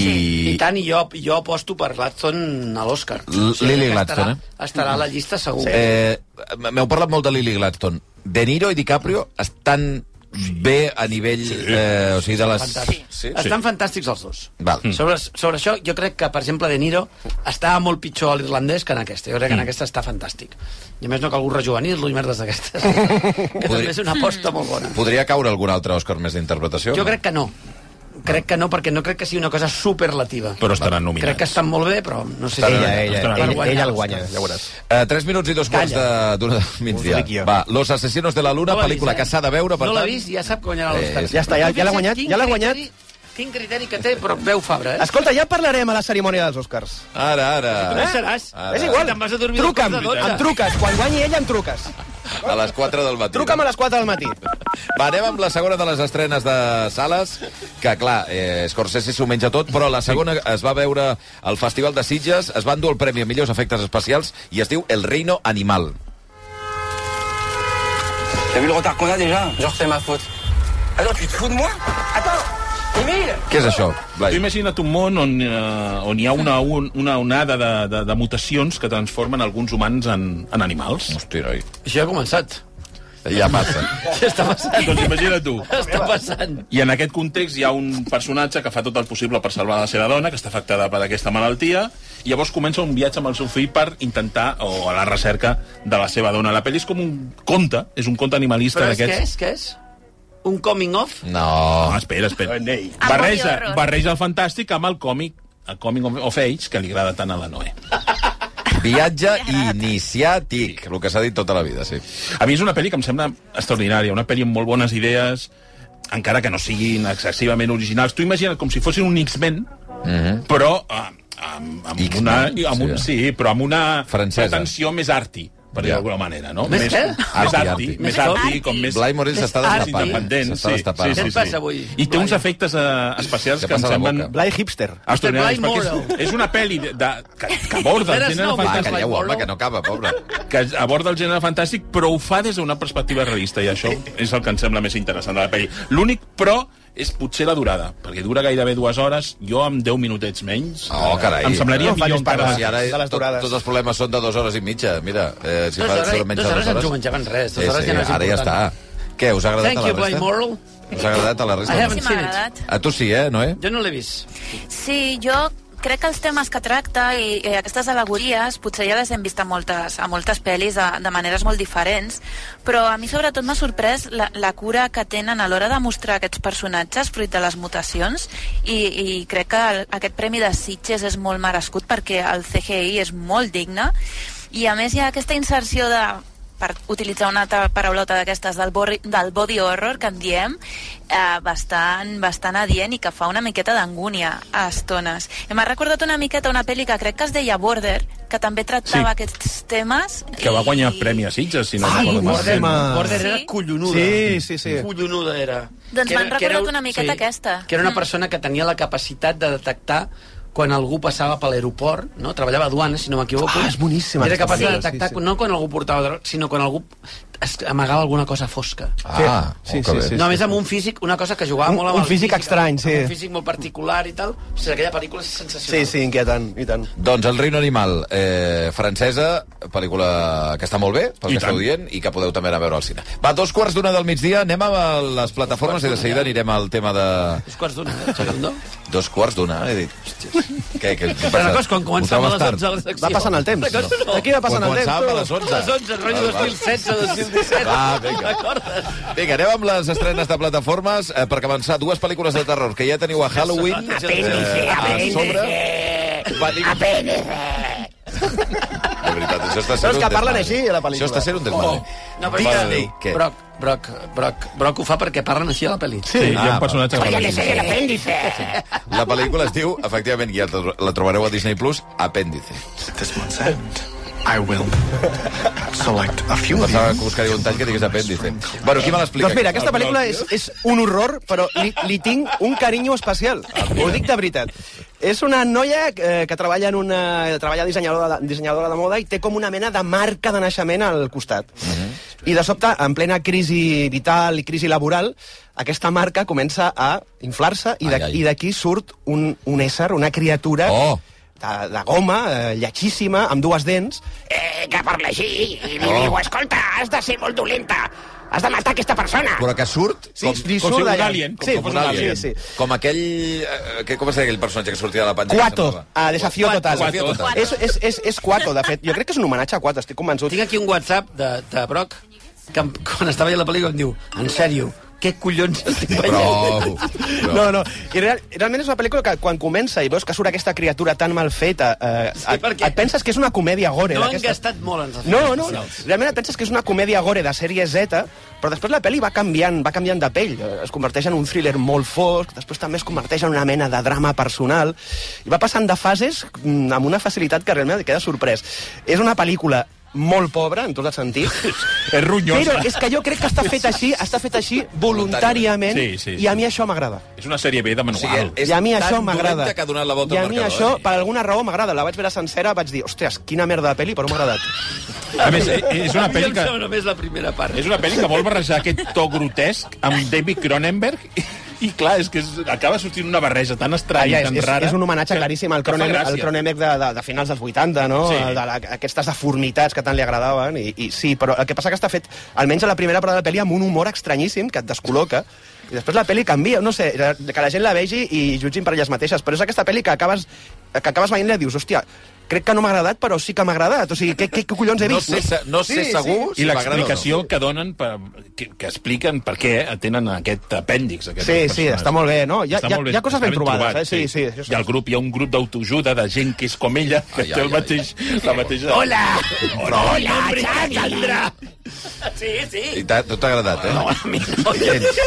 C: I tant, i jo, jo aposto per Gladstone a l'Oscar.
A: L- Lily
C: que
A: Gladstone, eh?
C: estarà, estarà a la llista segur.
A: Eh, M'heu parlat molt de Lily Gladstone. De Niro i DiCaprio estan bé a nivell... Eh, o sigui, de les...
C: Fantàstic.
A: Sí.
C: Estan fantàstics els dos.
A: Val. Mm.
C: Sobre, sobre això, jo crec que, per exemple, De Niro estava molt pitjor a l'irlandès que en aquesta. Jo crec
A: Mm.
C: que en aquesta està fantàstic. I a més no cal rejuvenir-lo i
A: [LAUGHS]
C: merdes d'aquestes. que també és una aposta molt bona.
A: Podria caure algun altre Òscar més d'interpretació?
C: Jo
A: no?
C: crec que no. Crec que no, perquè no crec que sigui una cosa superlativa.
E: Però estaran nominats.
C: Crec que estan molt bé, però no sé si...
B: Ella, ella,
E: Estarà
B: ella,
E: guanyant.
B: ella el guanya, ja veuràs.
A: Eh, 3 minuts i dos quarts
C: Calla.
A: de- d'una de migdia.
B: dic jo.
A: Va, Los asesinos de la luna,
C: l'ha
A: pel·lícula
C: vist, eh?
A: que s'ha de veure, per
C: No l'ha
A: tant...
C: vist i ja sap que guanyarà l'Oscar.
A: Eh, ja
B: està, ja- ja l'ha guanyat,
C: Quin
B: ja l'ha guanyat.
C: criteri- Quin criteri que té, però veu Fabra, eh?
B: Escolta, ja parlarem a la cerimònia dels Oscars.
A: Ara, ara. Eh?
C: Tu no hi seràs.
A: Ara.
B: És igual.
C: Te'n vas a dormir
B: Truca'm,
C: a dos quarts de dotze.
B: em truques. Quan guanyi ella, em truques.
C: ah.
A: A les 4 del matí.
B: Truca'm a les 4 del matí.
A: Va, anem amb la segona de les estrenes de sales, que, clar, eh, Scorsese s'ho menja tot, però la segona es va veure al Festival de Sitges, es van dur el Premi a Millors Efectes Especials i es diu El Reino Animal.
H: T'as vu le retard qu'on a déjà Genre, c'est ma faute. Attends, tu te fous de moi Attends Émile
A: Què és això,
E: Tu
A: Blai?
E: imagina't un món on, eh, on hi ha una, un, una onada de, de, de mutacions que transformen alguns humans en, en animals.
A: Hosti, noi,
C: Això ja ha començat.
A: ja passa.
C: Això està [LAUGHS] passant.
E: doncs imagina't tu.
C: està passant.
E: I en aquest context hi ha un personatge que fa tot el possible per salvar la seva dona, que està afectada per aquesta malaltia, i llavors comença un viatge amb el seu fill per intentar, o a la recerca de la seva dona. La pel·li és com un conte, és un conte animalista
C: Però és què
E: d'aquests.
C: és? Què és? Un coming off?
A: No.
E: Ah, espera, espera.
F: Ah,
E: Barreja,
F: body horror.
E: barreja el fantàstic amb el còmic el Comic of Age, que li agrada tant a la Noé.
A: Viatge iniciàtic, el que s'ha dit tota la vida, sí.
E: A mi és una pel·li que em sembla extraordinària, una pel·li amb molt bones idees, encara que no siguin excessivament originals. Tu imagina't com si fossin un X-Men,
A: Mhm.
E: però eh, amb, amb
A: X-Men,
E: una... Amb un,
A: sí,
E: sí, però amb una
A: Francesa.
E: pretensió més arti, per dir
A: Ja.
E: d'alguna manera, no?
C: Més què?
E: Més
A: Arty,
E: arti,
A: arty.
E: més
F: Més
E: arti,
F: arty.
E: com més...
A: Blai Morell s'està
C: Art
A: destapant.
E: independent,
A: S'està
E: sí,
A: destapant.
E: sí,
C: Què
E: sí,
C: et
E: sí.
C: passa avui,
E: I té uns
C: Blai?
E: efectes eh, especials
A: Què
E: que em
A: passa a la
E: semblen...
A: boca?
B: Blai Hipster.
E: extraordinaris,
C: Blai
E: perquè
C: Morrow.
E: és, és una pel·li de, de, que, que aborda el
C: Veres
E: gènere
A: Va,
C: no, Blai.
E: fantàstic
A: calleu, home, que no acaba, pobre.
E: que aborda el gènere fantàstic, però ho fa des d'una perspectiva realista, i això és el que em sembla més interessant de la pel·li. L'únic, però, és potser la durada, perquè dura gairebé dues hores, jo amb 10 minutets menys...
A: Oh, carai.
E: Em
B: No
E: semblaria no, millor
B: facis
E: encara...
B: parlar.
A: Si ara eh?
B: De les
A: tot,
B: durades.
A: tots els problemes són de dues hores i mitja, mira. Eh, si
C: Dues
A: fa-
C: hores-
A: surt menys
C: dues
A: de
C: hores ens ho menjaven res, dues
A: Sí,
C: hores
A: sí,
C: ja no és
A: ara ja està.
C: important.
A: Què, us ha agradat
C: Thank
A: a la
C: you, Blai
A: resta?
C: Morrow.
A: Us ha agradat a la
C: I
A: resta?
C: haven't
F: sí,
C: seen
F: m'ha
C: it.
F: agradat
A: A tu sí, eh, Noé?
C: Jo no l'he vist.
F: sí, jo crec que els temes que tracta i, i aquestes alegories potser ja les hem vist a moltes, a moltes pel·lis de, de maneres molt diferents, però a mi sobretot m'ha sorprès la, la cura que tenen a l'hora de mostrar aquests personatges fruit de les mutacions i, i crec que el, aquest premi de Sitges és molt merescut perquè el CGI és molt digne i a més hi ha aquesta inserció de per utilitzar una altra paraulota d'aquestes del, borri, del body horror que en diem eh, bastant, bastant adient i que fa una miqueta d'angúnia a estones. I M'ha recordat una miqueta una pel·li que crec que es deia Border, que també tractava
E: Sí.
F: sí. aquests temes.
E: Que va guanyar premi a Sitges, si no
B: Ai,
E: recordo
B: Border,
E: malament.
C: Border
F: Sí?
C: era collonuda.
B: Sí, sí, sí.
C: Collonuda era.
F: Doncs
C: Que era-
F: m'han
C: que era
F: recordat
C: un-
F: una miqueta aquesta.
C: Que era una
F: Mm.
C: persona que tenia la capacitat de detectar quan algú passava per l'aeroport, no? Treballava a duanes, si no m'equivoco.
B: Ah, és boníssima
C: Era
B: aquesta
C: capaç de
B: pel·lícula,
C: detectar,
B: sí,
C: sí,
B: sí.
C: sí. no quan algú portava droga, sinó quan algú es amagava alguna cosa fosca.
A: Ah,
B: Sí,
A: oh, que
B: sí,
A: bé.
B: sí, sí.
C: No, a més amb un físic, una cosa que jugava
B: Un-
C: molt amb
B: un
C: el
B: físic estrany, sí.
C: amb Un físic molt particular i tal. O sigui, aquella pel·lícula és
B: Sí,
C: sensacional.
B: sí, inquietant, i tant.
A: Doncs El reino animal, eh, francesa, pel·lícula que està molt bé, pel
E: I
A: que esteu
E: tant.
A: dient, i que podeu també anar a veure al cine. Va, dos quarts d'una del migdia, anem a les plataformes i de seguida anirem al tema de...
C: Dos quarts d'una, eh? Segundo.
A: Dos quarts d'una, he dit. Hòsties. Què, què, què
C: Però no, quan començava
A: Ho
C: a
A: fem
C: les
A: tard.
C: 11 a la secció.
B: Va passant el temps. Aquí va passant
A: Quan
B: el
A: començava
B: temps.
A: a les 11.
C: Les 11, rotllo 2016, 2017.
A: Va, Ah, vinga.
C: Recordes?
A: Vinga, anem amb les estrenes de plataformes eh, per començar. Dues pel·lícules de terror que ja teniu a Halloween. Eh,
C: Apèndice,
A: a sobre. Apèndice! De veritat, això està sent
B: Però és
A: un
B: que parlen
A: desmadre.
B: així, a la pel·lícula.
A: Això està sent un desmadre.
C: Oh, No, però
A: Digues,
C: mira,
A: Ney, què?
C: Broc, Broc, Broc, Broc ho fa perquè parlen així a la pel·li.
E: Sí, hi ha
A: Ah,
E: un personatge... que parla així.
A: La pel·lícula es diu, efectivament, ja la trobareu a Disney+, Plus, Apèndice.
H: This month's end. I will select a few of
A: Pensava que
H: these.
A: buscaria un tall que digués Apèndice. Bueno, qui me l'explica?
B: Doncs mira, aquesta pel·lícula és, és un horror, però li, li tinc un carinyo especial. Ho dic de veritat. És una noia eh, que treballa en una treballa dissenyadora de, dissenyadora de moda i té com una mena de marca de naixement al costat. I de sobte, en plena crisi vital i crisi laboral, aquesta marca comença a inflar-se i
A: Ai,
B: de-
A: ai.
B: i d'aquí surt un, un ésser, una criatura...
A: Oh.
B: De, de goma, eh, lletjíssima, amb dues dents,
I: Eh, que parla així i li oh. diu, escolta, has de ser molt dolenta, has de matar aquesta persona.
A: Però que surt
B: Sí,
A: com,
B: li surt
E: com si fos un
B: d'allà.
E: alien, com
B: Sí,
E: si fos
A: com
B: com
A: un alien.
B: Sí, sí.
A: Com aquell... Eh, que, com es deia aquell personatge que sortia de la pantalla?
B: Cuato, a Ah, Desafío Total.
A: Desafío
E: Cuato.
A: Total.
B: És, és, és, és Cuato, de fet. Jo crec que és un homenatge a Cuato, estic convençut.
C: Tinc aquí un WhatsApp de, de Broc que em- quan estava veient la pel·lícula em diu en sèrio, què collons estic veient?
A: Prou.
B: No, no. I real, realment és una pel·lícula que quan comença i veus que surt aquesta criatura tan mal feta, eh,
C: Sí,
B: et,
C: perquè-
B: et penses que és una comèdia gore.
C: No han
B: d'aquestes.
C: gastat molt en els
B: No, no, no, realment et penses que és una comèdia gore de sèrie Z, però després la pel·li va canviant, va canviant de pell. Eh, Es converteix en un thriller molt fosc, després també es converteix en una mena de drama personal, i va passant de fases mm, amb una facilitat que realment et queda sorprès. És una pel·lícula molt pobra, en tots els
E: [LAUGHS]
B: sentits.
E: És ronyosa.
B: Però és que jo crec que està fet així, està fet així voluntàriament,
E: Sí, sí, sí.
B: i a mi això m'agrada.
E: És una sèrie B de
A: O sigui,
E: manual.
A: és
B: I a mi
A: tan
B: això m'agrada.
A: dolenta que ha donat la volta
B: I a
A: al
B: mi
A: marcador,
B: això,
A: eh?
B: per alguna raó, m'agrada. La vaig veure sencera, vaig dir, ostres, quina merda de pel·li, però m'ha agradat.
E: A més, eh, és una pel·li que...
C: Em només la primera part.
E: És una pel·li que vol barrejar aquest to grotesc amb David Cronenberg i, i clar, és que és, acaba sortint una barreja tan estranya
B: Ah, Ja,
E: i
B: és,
E: tan
B: és,
E: rara...
B: és un homenatge
E: que-
B: claríssim al
E: que fa
B: Cronenberg,
E: gràcia.
B: al Cronenberg de, de, de finals dels 80, no?
E: Sí.
B: Sí. De la, aquestes deformitats que tant li agradaven. I, I sí, però el que passa que està fet, almenys a la primera part de la pel·li, amb un humor estranyíssim que et descol·loca. I després la pel·li canvia, no sé, que la gent la vegi i jutgin per elles mateixes. Però és aquesta pel·li que acabes, que acabes veient i dius, hòstia, crec que no m'ha agradat, però sí que m'ha agradat. O sigui, què, què, què collons he
A: No
B: vist?
A: sé, se- no sé segur
E: eh? I
A: si m'agrada o no.
E: l'explicació que donen, per, que, que expliquen per què tenen aquest apèndix. Aquest
B: Sí, sí, està molt bé, no? Hi ha-
E: Està
B: hi ha-
E: molt
B: hi ha coses ben
E: està
B: trobades,
E: trobat,
B: eh? Sí, sí, això sí.
E: Hi ha, el grup, hi ha un grup d'autoajuda de gent que és com ella, que
A: Ai,
E: té
A: ai,
E: el
A: ai,
E: mateix, la mateixa...
I: Hola! Hola, Hola Xavi!
C: Sí, sí.
A: I t'ha tot t'ha agradat, eh?
C: No, a mi no.
A: Gens.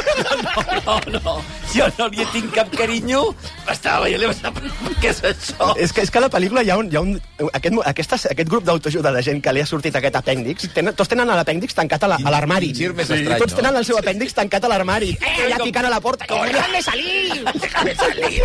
C: No, no, no. Jo no li tinc cap carinyo. Estava veient, li vaig dir, què és això?
B: És que, és que a la pel·lícula hi ha un... Hi ha un aquest, aquesta, aquest grup d'autoajuda de gent que li ha sortit aquest apèndix, tenen, tots tenen l'apèndix tancat a la- a l'armari.
A: Quin gir més estrany,
B: Tots tenen
A: no?
B: el seu apèndix tancat a l'armari.
I: Eh,
B: Ella
I: com-
B: picant a la porta.
I: Déjame salir! Déjame salir!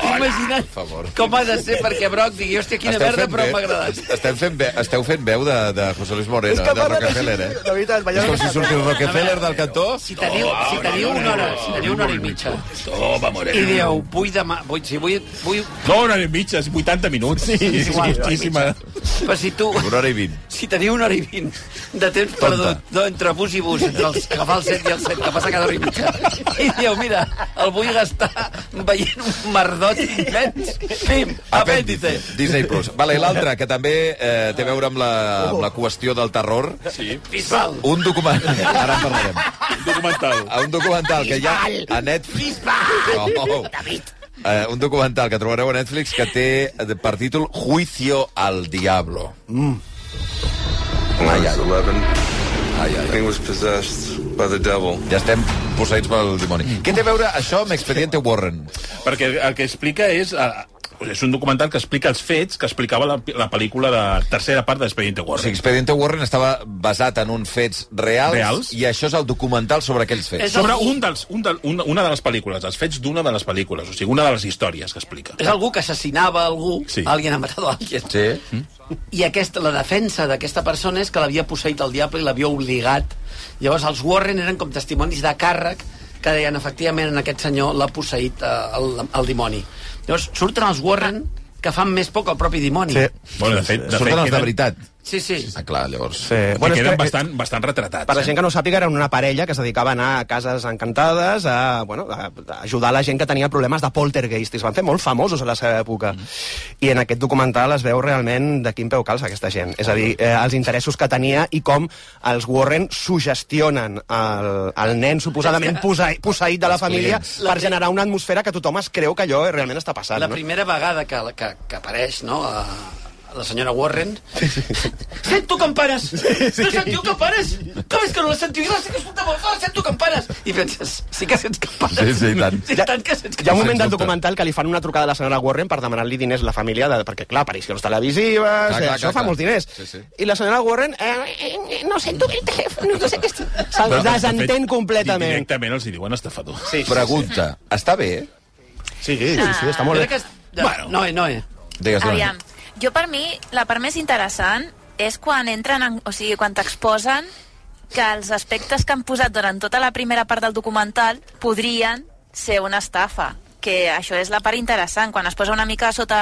C: Imagina't
A: favor.
C: com ha de ser perquè Broc digui, hòstia, quina merda, però m'ha agradat.
A: Estem fent ve, esteu fent veu de, de José Luis Moreno,
B: És que
A: de
B: parlen
A: Rockefeller,
B: així,
A: eh?
B: la veritat,
A: és
B: ballant-
A: com si surti el Rockefeller del cantó.
C: Si teniu, si teniu una hora, si teniu una hora i mitja,
E: Toma,
C: i
E: Moreno.
C: dieu, vull demà, vull, si vull, vull,
E: No, una hora i mitja, és 80 minuts. Sí, és moltíssima.
C: Però si tu...
A: Una hora i vint.
C: Si teniu una hora i vint de temps
A: Tonta.
C: perdut no, entre bus i bus, entre els, agafar el 7 i el 7, que passa cada hora i mitja, i dieu, mira, el vull gastar veient un merdot immens. Pim, apèndice.
A: Disney Plus. Vale, L'altre, que també eh, té a veure amb la, amb la
B: Oh.
A: qüestió del terror.
E: Sí,
C: Bisbal.
A: Un document... Ara en parlarem.
E: un
A: a
E: documental.
A: Ah, un documental que hi ha a Netflix... Oh, Eh, un documental que trobareu a Netflix que té eh, per títol Juicio al Diablo.
H: I was 11,
A: Ai, ai, ai.
H: was possessed by the devil.
A: Ja estem posseïts pel dimoni.
B: Mm.
A: Què té a veure això amb Expediente Warren?
E: Perquè el que explica és... eh, és un documental que explica els fets que explicava la, la pel·lícula de tercera part d'Expediente
A: O sigui,
E: Warren.
A: Expediente Warren estava basat en uns fets reals,
E: Reals.
A: i això és el documental sobre aquells fets.
C: És-
E: Sobre un dels, un del, una, una de les pel·lícules, els fets d'una de les pel·lícules, o sigui, una de les històries que explica.
C: És algú que assassinava algú,
E: Sí.
C: sí. alguien ha matat alguien.
A: Sí?
C: I aquesta, la defensa d'aquesta persona és que l'havia posseït el diable i l'havia obligat. Llavors els Warren eren com testimonis de càrrec que deien, efectivament, en aquest senyor l'ha posseït eh, el, el dimoni. Llavors surten els Warren que fan més poc al propi dimoni.
B: Sí.
E: Bueno, de fet, de fet
A: Surten els de
E: queden-
A: veritat.
C: Sí, sí.
A: Ah, clar, llavors...
B: Sí.
E: I bueno,
B: és
E: queden
B: que-
E: bastant, bastant retratats.
B: Per la
E: eh?
B: gent que no ho sàpiga, eren una parella que es dedicava a anar a cases encantades, a, bueno, a a ajudar la gent que tenia problemes de poltergeist, i es van fer molt famosos a la seva època. I en aquest documental es veu realment de quin peu calça aquesta gent. És a dir, eh, els interessos que tenia i com els Warren sugestionen el, el nen suposadament posei, posseït de la família
A: clients.
B: per generar una atmosfera que tothom es creu que allò realment està passant.
C: La
B: no?
C: primera vegada que, que, que apareix, no?, a, la senyora Warren. Sento campanes! No sentiu campanes? Com és que no les sentiu? Jo les sento escoltar molt fort, sento campanes! I penses, sí que sents campanes.
A: Sí, sí, i tant.
C: Sí, tant que
B: Hi ha
C: sents
B: un
C: campanes.
B: moment
A: Sens
B: del
A: dubte.
B: documental que li fan una trucada a la senyora Warren per demanar-li diners a la família, de, perquè, clar, aparicions televisives, clar, clar,
A: clar,
B: això
A: clar,
B: fa
A: clar.
B: molts diners.
A: Sí, sí.
B: I la senyora Warren eh,
I: No sento bé el teléfono, no sé què estic...
B: se'ls
E: Però, de fet,
B: desentén completament.
E: Directament els hi diuen estafador.
A: Sí, Pregunta, està bé?
B: Sí, sí, sí, sí, està molt
C: Ah. Jo
B: bé.
C: crec que... és- Bueno. Noe, Noe.
A: Digues, dona.
F: Aviam, jo per mi, la part més interessant és quan entren, en, o sigui, quan t'exposen que els aspectes que han posat durant tota la primera part del documental podrien ser una estafa que això és la part interessant, quan es posa una mica sota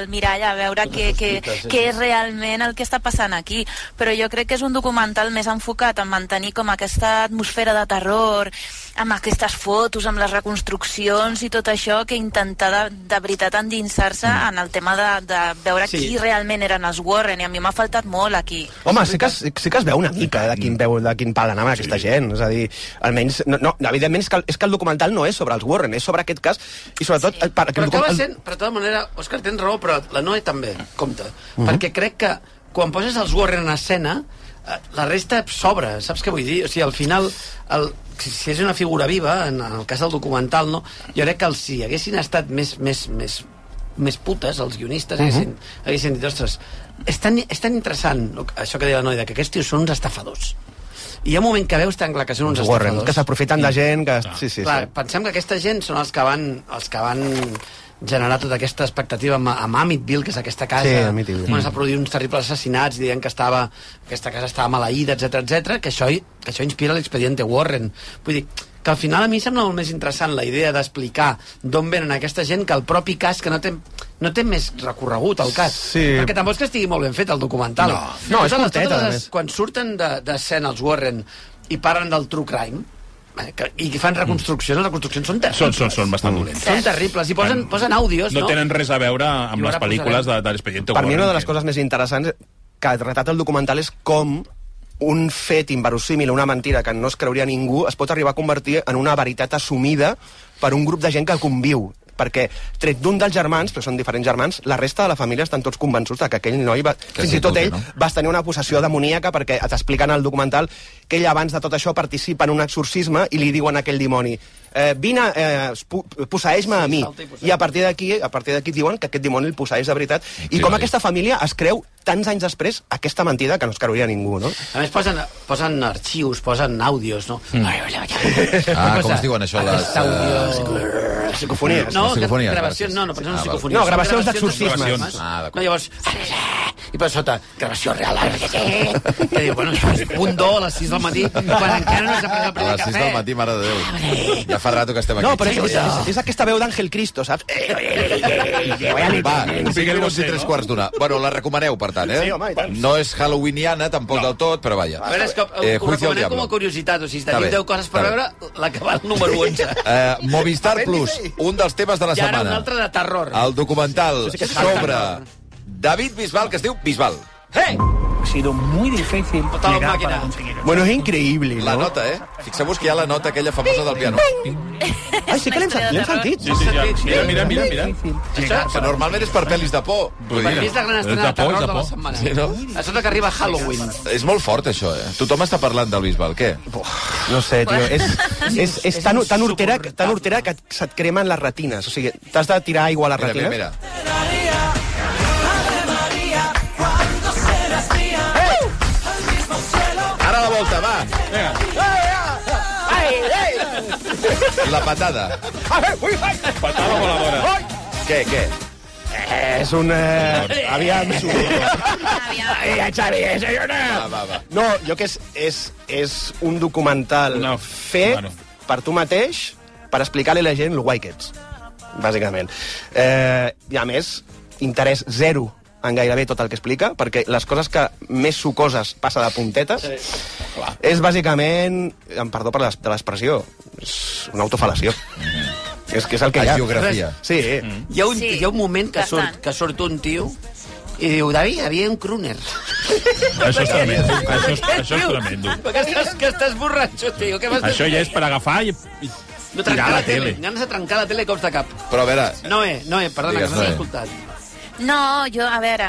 F: el mirall a veure què, què, què és realment el que està passant aquí. Però jo crec que és un documental més enfocat en mantenir com aquesta atmosfera de terror, amb aquestes fotos, amb les reconstruccions i tot això, que intentar de, de veritat endinsar-se
B: Mm.
F: en el tema de, de veure
C: Sí.
F: sí. qui realment eren els Warren, i a mi m'ha faltat molt aquí.
B: Home, sí que, es- sí que es veu una mica de
A: Mm.
B: quin, veu, de quin pal anava aquesta gent. És a dir, almenys... No, no, evidentment és que, el- és que el documental no és sobre els Warren, és sobre aquest cas i sobretot... Sí. Per,
C: Però acaba
B: el-
C: sent, per tota manera, Òscar, tens raó, però la Noe també, compte.
B: Mhm.
C: Perquè crec que quan poses els Warren en escena, eh, la resta s'obre, saps què vull dir? O sigui, al final, el, si, si és una figura viva, en, en el cas del documental, no? jo crec que els, si haguessin estat més, més, més, més putes, els guionistes, haguessin,
B: Mhm.
C: haguessin dit, ostres, és tan, és tan interessant no, això que deia la Noe, de que aquests tios són uns estafadors. I hi ha un moment que veus tan clar que són uns
B: Els Warren,
C: estafadors
B: que s'aprofiten de gent, que...
A: Ah.
B: Sí, sí,
C: clar,
B: sí.
C: pensem que aquesta gent són els que van, els que van generar tota aquesta expectativa amb, amb Amityville, que és aquesta casa
B: Sí, Amityville.
C: on es va produir uns terribles assassinats, dient que estava, aquesta casa estava maleïda, etc etc, que això, que això inspira l'expediente Warren. Vull dir, que al final a mi em sembla molt més interessant la idea d'explicar d'on venen aquesta gent que el propi cas, que no té, no té més recorregut el cas.
B: Sí.
C: Perquè tampoc és que estigui molt ben fet el documental. No,
B: No, és
C: totes,
B: curteta,
C: totes
B: a
C: les,
B: més.
C: quan surten de- d'escena de, els Warren i parlen del true crime, eh, que, i que fan reconstruccions, les reconstruccions són terribles. Mm.
E: Són, són, són bastant dolents.
C: Són terribles, i posen, posen àudios, no?
E: No tenen res a veure amb
C: I
E: les
C: ara
E: pel·lícules de,
C: posarem.
E: de l'expedient
B: Per mi una de les coses més interessants que retrata el documental és com un fet inverosímil, una mentira que no es creuria ningú, es pot arribar a convertir en una veritat assumida per un grup de gent que conviu perquè, tret d'un dels germans, però són diferents germans, la resta de la família estan tots convençuts de que aquell noi, va, fins
A: sí,
B: i tot
A: tu, que
B: ell,
A: no.
B: vas tenir una possessió demoníaca perquè t'expliquen al documental que ell abans de tot això participa en un exorcisme i li diuen a aquell dimoni eh, vine, eh, pu- posseeix-me a mi.
C: salta i posseeix.
B: I a partir d'aquí a partir d'aquí et diuen que aquest dimoni el posseeix de veritat. I
A: Sí,
B: com
A: sí.
B: aquesta família es creu tants anys després aquesta mentida que no es creuria ningú, no?
C: A més, posen, posen arxius, posen àudios, no? Mm.
A: Ah, com es diuen això, les, eh,
C: àudios...
B: Psicofonies.
C: No,
A: psicofonies,
C: gravacions,
A: gràcies.
C: no, no, però no
A: Ah, val.
C: són psicofonies.
B: No,
C: són
B: gravacions
C: gravacions
B: d'exorcismes.
C: d'exorcismes.
A: Ah, d'acord.
C: No, llavors... i per sota, gravació real, eh? que diu, bueno, això és punt do a les 6 del matí, quan encara no s'ha pres el
A: A
C: primer
A: les 6 del matí, mare de Déu. Ja fa rato que estem aquí.
B: No, però és, és,
A: Ja.
B: és, és aquesta veu d'Àngel Cristo, saps? Eh,
A: Va, 5 minuts i 3 quarts d'una. Bueno, la recomaneu, per tant, eh?
B: Sí, home, i tant.
A: No és halloweeniana, tampoc del tot, però vaja.
C: A veure, és que eh, ho
A: Juicio al
C: recomanem com
A: Diablo.
C: a curiositat, o sigui, si
A: Està
C: teniu
A: bé,
C: 10 coses per
A: està bé.
C: veure, la que va al número 11.
A: Eh, Movistar Plus, un dels temes de la
C: I ara un
A: setmana.
C: altre de terror.
A: El documental
C: Sí, sí que és
A: sobre
C: terror.
A: David Bisbal, que es diu Bisbal.
C: Hey! Tota
G: Ha sido muy difícil
C: Total
G: llegar
C: máquina.
G: para conseguir
B: bueno, és increïble,
A: La
B: no?
A: nota, eh? Fixeu-vos que hi ha la nota aquella famosa del piano.
B: Ai, sí que l'hem sentit, l'hem sentit.
E: Sí, sí, ja. Mira, mira, mira, mira.
C: Això,
A: Que normalment és per pel·lis de por. Vull
C: per
A: dir,
C: mi és la gran estrena de
E: És de
C: terror
E: por, és de
C: de la
E: por.
C: setmana.
A: Sí, no?
C: A sota que arriba Halloween.
A: és molt fort, això, eh? Tothom està parlant del Bisbal, què?
B: No sé, tio, és, és, és tan, tan, hortera, que- tan hortera que se't cremen les retines. O sigui, t'has de tirar aigua a les
A: Mira, mira,
B: retines.
A: mira. Ara la volta, va. La patada.
E: Patada voladora.
A: Què, què?
B: És un... Eh, aviam...
I: Xavi,
B: eh,
I: és allò, no?
A: Va, va, va.
B: No, jo que és, és, és un documental
E: Una-
B: fet
E: bueno.
B: bueno. per tu mateix per explicar-li a la gent el guai que ets, bàsicament. Eh, I a més, interès zero en gairebé tot el que explica, perquè les coses que més sucoses passa de puntetes sí. és bàsicament, em perdó per les- de l'expressió, és una autofalació. és que és el que hi ha.
A: Agiografia.
B: Sí,
C: Hi ha un,
F: Sí,
C: hi ha un moment que
F: bastant.
C: surt, que surt un tio i diu, David, hi havia un crooner.
E: Això és tremendo. Això és, això és
C: Tio,
E: tremendo.
C: Que estàs, que estàs borratxo, tio. Que m'estàs-
E: Això ja és per agafar i, i
C: No
E: tirar
C: trencar
E: a
C: la,
E: la tele.
C: Ganes de trencar la tele cops de cap.
A: Però a veure,
C: Noé, Noé, perdona,
A: Digues,
C: que no t'he
A: Noé.
C: escoltat.
F: No, jo, a veure,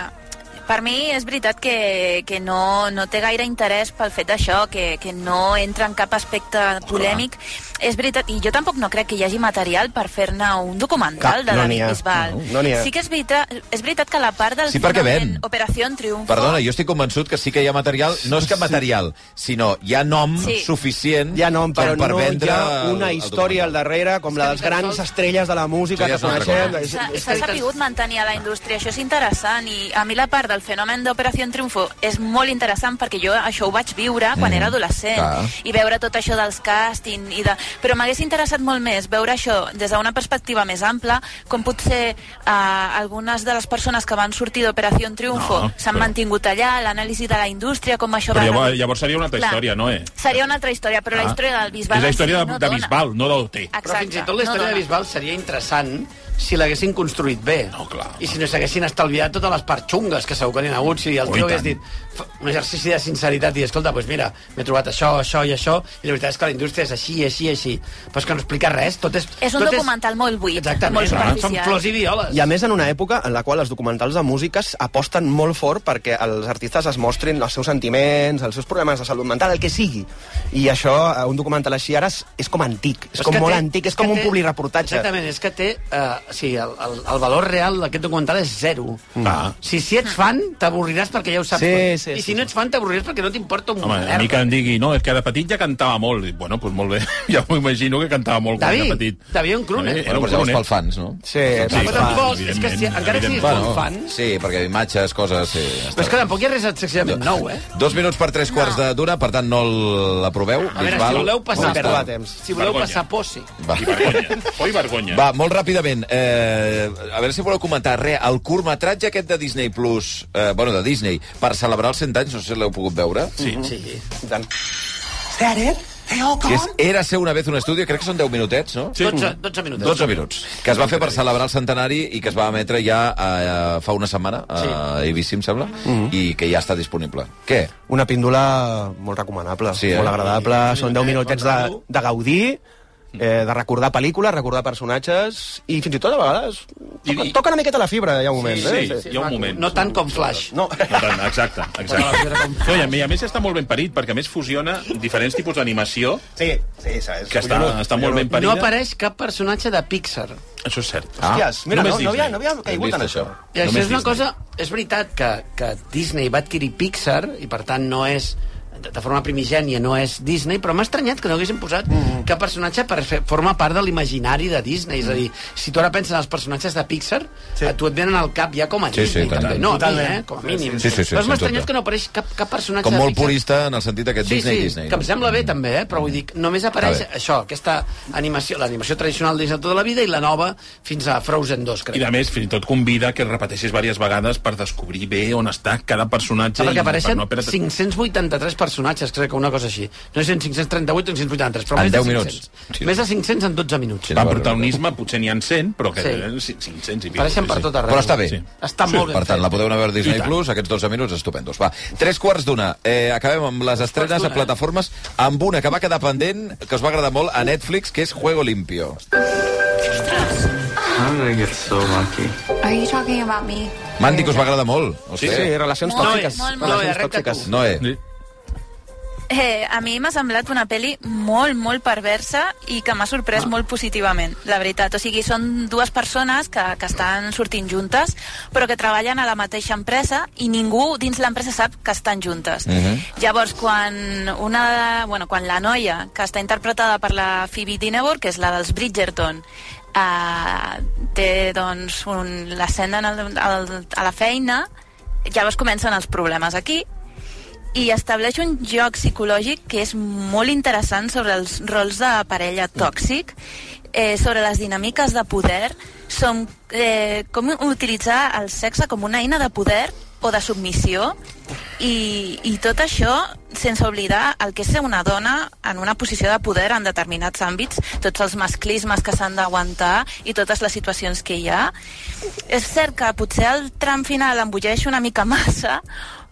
F: per mi és veritat que, que no, no té gaire interès pel fet d'això, que, que no entra en cap aspecte polèmic. És veritat, i jo tampoc no crec que hi hagi material per fer-ne un documental
B: Cap,
F: de
B: no n'hi
F: David
B: ha.
F: Bisbal.
B: No, no n'hi ha.
F: Sí que és veritat, és veritat que la part del
A: Sí, perquè
F: fenomen
A: ven.
F: Operació Triunfo...
A: Perdona, jo estic convençut que sí que hi ha material, no és que material, sinó hi ha nom
F: Sí.
A: suficient
B: hi ha nom,
A: com
B: però
A: per
B: no
A: vendre
B: hi ha
A: el-
B: una
A: el
B: història al
A: documental.
B: darrere com
C: que
B: la dels
C: ni tan
B: grans
C: sols-
B: estrelles de la música
A: Això ja
B: que
A: és una altra
B: coneixem.
A: cosa.
B: És,
F: S'ha
B: és,
F: s'ha sabut mantenir a la indústria, això és interessant i a mi la part del fenomen d'Operació Triunfo és molt interessant perquè jo això ho vaig viure quan
A: Mm,
F: era adolescent
A: clar.
F: i veure tot això dels càsting i de... però m'hagués interessat molt més veure això des d'una perspectiva més ampla com potser eh, algunes de les persones que van sortir d'Operació Triunfo
E: No,
F: s'han
E: però-
F: mantingut allà, l'anàlisi de la indústria com això
E: Però
F: va...
E: llavors, llavors seria una altra
F: Clar.
E: història, no, eh? Ah.
F: Seria una altra història, però la història del Bisbal...
E: És la
F: en si
E: història de,
F: no
E: de
F: dona. Ah,
E: Bisbal, no del T.
F: Exacte.
C: Però fins i tot la història
F: no
C: de
F: dona.
C: Bisbal seria interessant si l'haguessin construït bé.
E: No, clar.
C: I si no s'haguessin estalviat totes les parts xungues que segur que n'hi ha hagut, si el
E: Oh, i
C: tio hagués
E: tant.
C: dit fa- un exercici de sinceritat i escolta, doncs mira, m'he trobat això, això i això, i la veritat és que la indústria és així, així, així. Però és que no explica res, tot és...
F: És un
C: tot
F: documental molt buit,
C: Exactament,
F: molt
C: són
F: superficial.
C: flors i violes.
B: I a més en una època en la qual els documentals de música aposten molt fort perquè els artistes es mostrin els seus sentiments, els seus problemes de salut mental, el que sigui. I això, eh, un documental així ara és, és com antic, és,
C: Però
B: com
C: que
B: molt
C: té-
B: antic, és
C: que
B: com un
C: té-
B: publireportatge.
C: Exactament, és que té... Uh, sí, el, el, el valor real d'aquest documental és zero.
E: Ah.
C: Si, si ets fan, t'avorriràs perquè ja ho saps.
B: Mm. Sí,
C: tot.
B: sí,
C: I
B: sí,
C: si no ets fan, t'avorriràs perquè no t'importa un
E: Home, a mi que em digui, no, és que de petit ja cantava molt. Dic, bueno, doncs molt bé, [LAUGHS] ja m'ho imagino que cantava molt quan
C: David,
E: era petit.
C: David, un crooner.
E: David,
A: Bueno,
E: Era un
A: però llavors
E: croner.
A: pel fans, no?
B: Sí,
E: Sí,
C: Però
E: clar,
C: tampoc, és que
E: evidentment,
C: si- encara siguis
E: evidentment.
C: molt fan.
A: Sí, perquè imatges, coses... Sí, ja
C: Però és
A: està.
C: que tampoc hi ha res excessivament nou, eh?
A: Dos minuts per tres quarts de d'una, per tant no l'aproveu.
C: A veure,
A: Bisbal.
C: si voleu passar...
A: Molt
B: perdó.
A: està.
B: perdre temps.
C: Si voleu
E: Vergonya.
C: passar por, sí.
A: Va.
E: I vergonya. Oi, vergonya.
A: Va, molt ràpidament. Eh, a veure si voleu comentar res. El curtmetratge aquest de Disney Plus, eh, bueno, de Disney, per celebrar els 100 anys, no sé si l'heu pogut veure,
E: Sí.
C: Sí.
B: I tant.
A: que és Era ser una vez un estudi, crec que són 10 minutets, no?
C: 12, 12 minuts.
A: 12 minuts, que es va fer per celebrar el centenari i que es va emetre ja eh, fa una setmana a ABC, em sembla, i que ja està disponible. Què?
B: Una píndola molt recomanable,
A: Sí, eh?
B: molt agradable. Són 10 minutets de, de gaudir, eh, de recordar pel·lícules, recordar personatges, i fins i tot a vegades toca,
E: I- i-
B: toca una miqueta la fibra, hi ha un moment. eh?
E: Sí, hi ha un moment.
C: No tant com Flash.
B: No, [LAUGHS]
E: No tant, exacte, exacte. No, i a mi- a més està molt ben parit, perquè a més fusiona diferents tipus d'animació
B: sí, sí, saps?
E: que està, està molt ben
C: No
E: parida.
C: apareix cap personatge de Pixar.
E: Això és cert.
B: Hòsties, mira,
E: Només
B: no, no, havia,
E: Disney.
B: no havia caigut en això.
C: I això
A: Només
C: és una
A: Disney.
C: cosa... És veritat que, que Disney va adquirir Pixar i, per tant, no és de de forma primigènia no és Disney, però m'ha estranyat que no haguessin posat mm. que personatge per fer, forma part de l'imaginari de
A: Mm.
C: Disney. És a dir, si tu ara penses en els personatges de Pixar,
J: Sí.
C: sí. a tu et venen al cap ja com a
A: Sí, sí,
C: Disney.
A: tant.
C: també. No, a mi,
J: Totalment.
C: eh? Com a mínim.
A: Sí, sí, sí,
C: però
A: sens
C: m'ha estranyat
A: dubte.
C: que no apareix cap, cap personatge
A: Com
C: de
A: molt
C: Pixar.
A: purista en el sentit aquest
C: Sí,
A: Disney,
C: sí,
A: Disney. Mm.
C: que em sembla bé també, eh? però vull dir, només apareix
A: Està bé.
C: això, aquesta animació, l'animació tradicional de Disney tota la vida i la nova fins a Frozen 2, crec.
E: I a més, fins i tot convida que repeteixis diverses vegades per descobrir bé on està cada personatge.
C: Ah, perquè
E: i per
C: apareixen
E: no perdre-
C: 583 personatges, crec que una cosa així. No sé, en 538 o en 583, però
A: En
C: més de
A: 10 minuts.
C: 500.
A: Sí.
C: Més de 500 en 12 minuts.
A: Sí.
E: Per protagonisme potser n'hi ha 100, però que
C: Sí.
E: sí. 500 i pico.
C: Apareixen per
E: sí, sí.
C: tot arreu.
A: Però està bé.
E: Sí.
C: Està
E: Sí,
C: molt ben
A: Per tant,
C: fet.
A: la podeu anar a veure a
E: I
A: Disney
E: tant.
A: Plus, aquests 12 minuts estupendos. Va, tres quarts d'una. Eh, acabem amb les estrenes a
C: d'una.
A: plataformes amb una que va quedar pendent, que us va agradar molt, a Netflix, que és Juego Limpio.
F: Are you talking about me?
A: Mandy, que us va agradar molt.
B: Sí, sí, relacions
F: Molt bé,
B: tòxiques.
F: molt bé.
B: relacions
C: Noe, recta
B: tòxiques.
A: Noé,
E: Sí.
F: Eh, a mi m'ha semblat una peli molt, molt perversa i que m'ha sorprès molt positivament, la veritat. O sigui, són dues persones que, que estan sortint juntes, però que treballen a la mateixa empresa i ningú dins l'empresa sap que estan juntes. Llavors, quan, una, bueno, quan la noia, que està interpretada per la Phoebe Dinevor, que és la dels Bridgerton, eh, té doncs, un- l'escena en el- al- a la feina, llavors comencen els problemes aquí, i estableix un joc psicològic que és molt interessant sobre els rols de parella tòxic, eh, sobre les dinàmiques de poder, som, eh, com utilitzar el sexe com una eina de poder o de submissió, i, i tot això sense oblidar el que és ser una dona en una posició de poder en determinats àmbits, tots els masclismes que s'han d'aguantar i totes les situacions que hi ha. És cert que potser el tram final embulleix una mica massa,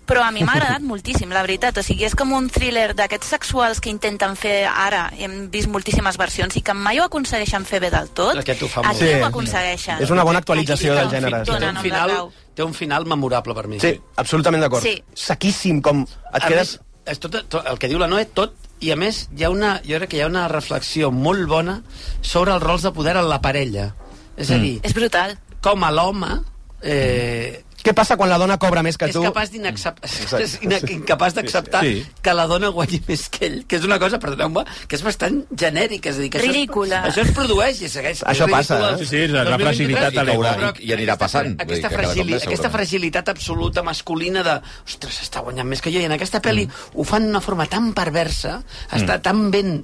F: però a mi m'ha agradat moltíssim, la veritat. O sigui, és com un thriller d'aquests sexuals que intenten fer ara. Hem vist moltíssimes versions i que mai ho aconsegueixen fer bé del tot.
C: Aquest ho fa molt
F: Aquí
B: bé.
F: ho
B: Sí.
F: aconsegueixen.
B: És una bona actualització
F: Aquí
B: del gènere.
F: Donen
C: Té un,
F: amb la
C: final,
F: clau.
C: té un final memorable per mi.
B: Sí, absolutament d'acord.
F: Sí.
B: Sequíssim, com et
C: A
B: quedes...
C: Més, és tot, tot, el que diu la Noé, tot, i a més, hi ha una, jo crec que hi ha una reflexió molt bona sobre els rols de poder en la parella. És a dir,
F: És brutal.
C: mm. com a l'home... Eh,
B: Què passa quan la dona cobra més que
C: és
B: tu?
C: capaç d'inaccept- [LAUGHS] és ina- incapaç d'acceptar
E: Sí.
C: que la dona guanyi més que ell, que és una cosa, perdoneu-me, que és bastant genèrica. És a dir, que
F: Ridícula.
C: Això, es, això es produeix i segueix.
B: Això
C: És
B: passa,
C: ridícul.
B: eh? Sí,
E: sí, és la
C: 2023,
E: fragilitat
C: però
E: a l'ego.
A: Caurà i- i anirà
C: aquesta-
A: passant, vull dir
C: Aquesta,
A: que cada cop
C: fragili,
A: més,
C: aquesta
A: segurament.
C: fragilitat absoluta masculina de ostres, està guanyant més que jo, i en aquesta pel·li
B: Mm.
C: ho fan d'una forma tan perversa, està tan ben...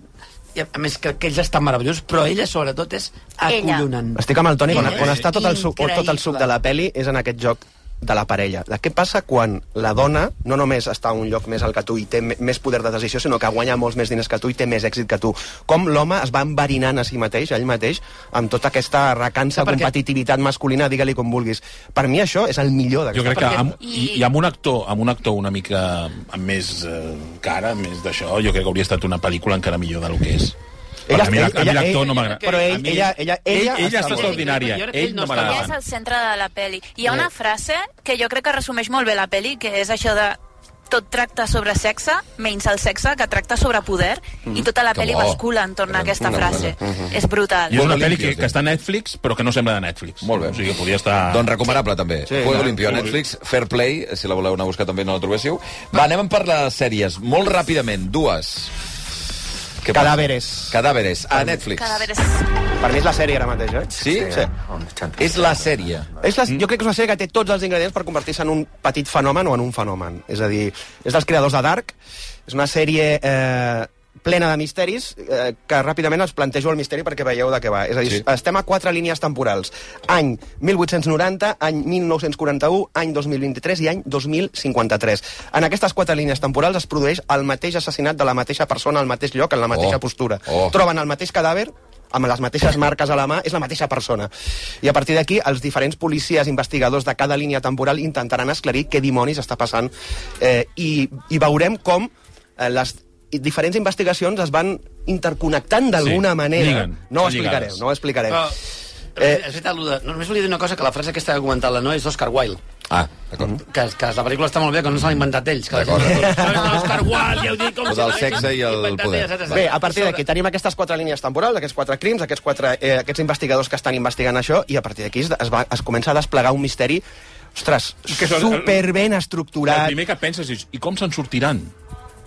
C: i A a més, crec que ells estan meravellosos, però ella, sobretot, és
F: Ella.
C: acollonant.
B: Estic amb el Toni, quan,
C: Sí,
B: quan
C: sí.
B: està tot el, suc,
C: Increïble.
B: tot el suc de la peli és en aquest joc de la parella. De què passa quan la dona no només està a un lloc més al que tu i té me- més poder de decisió, sinó que guanya molts més diners que tu i té més èxit que tu. Com l'home es va enverinant a si mateix, a ell mateix, amb tota aquesta recança,
C: Sap per què?
B: competitivitat masculina, digue-li com vulguis. Per mi això és el millor
E: Jo
B: d'aquesta
E: crec que
C: Perquè-
E: amb, i, i amb, un actor, amb un actor una mica amb més eh, cara, més d'això, jo crec que hauria estat una pel·lícula encara millor del que és. Perquè a mi l'ac- a mi l'actor no m'agrada.
B: Però ell,
E: A mi-
B: ella, ella, ella,
E: ell, ella
B: molt
E: està
B: bé.
E: extraordinària.
C: Jo crec que ell
E: Ell
C: no
E: no
C: està
F: Ella és
E: m'agrada.
F: el centre de la peli. Hi ha una frase que jo crec que resumeix molt bé la peli, que és això de tot tracta sobre sexe, menys el sexe, que tracta sobre poder, i tota la
A: Que
F: peli
A: bo.
F: bascula entorn a aquesta
A: Una
F: frase. És
E: I
F: brutal.
E: és una
A: Molt
E: pel·li
A: límpia,
E: que,
A: sí.
E: que està a Netflix, però que no sembla de Netflix.
A: Molt bé.
E: O sigui, que podria estar...
A: Doncs recomanable, també. Sí, Juego
E: clar.
A: Limpio a Netflix, Fair Play, si la voleu anar a buscar també no la trobéssiu. Va, anem per les sèries, molt ràpidament, dues. Què passa?
B: Cadàveres.
A: Cadàveres, a Netflix.
F: Cada vegada
B: Per mi és la sèrie ara mateix, eh?
A: Sí?
B: Sí.
A: És la sèrie.
B: És
A: Mm.
B: la, jo crec que és una sèrie que té tots els ingredients per convertir-se en un petit fenomen o en un fenomen. És a dir, és dels creadors de Dark, és una sèrie eh, plena de misteris eh, que ràpidament els plantejo el misteri perquè veieu de què va. És a dir,
A: Sí.
B: sí. estem a quatre línies temporals. Any 1890, any 1941, any 2023 i any 2053. En aquestes quatre línies temporals es produeix el mateix assassinat de la mateixa persona al mateix lloc, en la mateixa
A: Oh.
B: postura.
A: Oh.
B: Troben el mateix cadàver amb les mateixes marques a la mà, és la mateixa persona. I a partir d'aquí, els diferents policies investigadors de cada línia temporal intentaran esclarir què dimonis està passant eh, i, i veurem com eh, les diferents investigacions es van interconnectant d'alguna
E: Sí,
B: manera.
E: lliguen,
B: no ho
E: són
B: explicareu,
E: lligades.
B: no ho explicareu.
E: Ah,
C: Però,
B: Eh,
C: eh, és veritat, allò de, no, només volia dir una cosa, que la frase aquesta que ha comentat la Noé és d'Oscar Wilde.
A: Ah,
B: Mhm.
A: d'acord.
C: Que, que la pel·lícula està molt bé, que no se l'han inventat ells. Que la gent- No, és d'Oscar Wilde, ja ho dic, com
A: O del
C: si l'haguessin
A: sexe i el
C: inventat
A: poder.
C: ells, etcètera.
B: Bé, a partir
C: Sobre-
B: d'aquí tenim aquestes quatre línies temporals, aquests quatre crims, aquests, quatre, eh, aquests investigadors que estan investigant això, i a partir d'aquí es, es, va, es comença a desplegar un misteri ostres,
E: Que són-
B: superben
E: El
B: estructurat.
E: primer que penses és, i com se'n sortiran?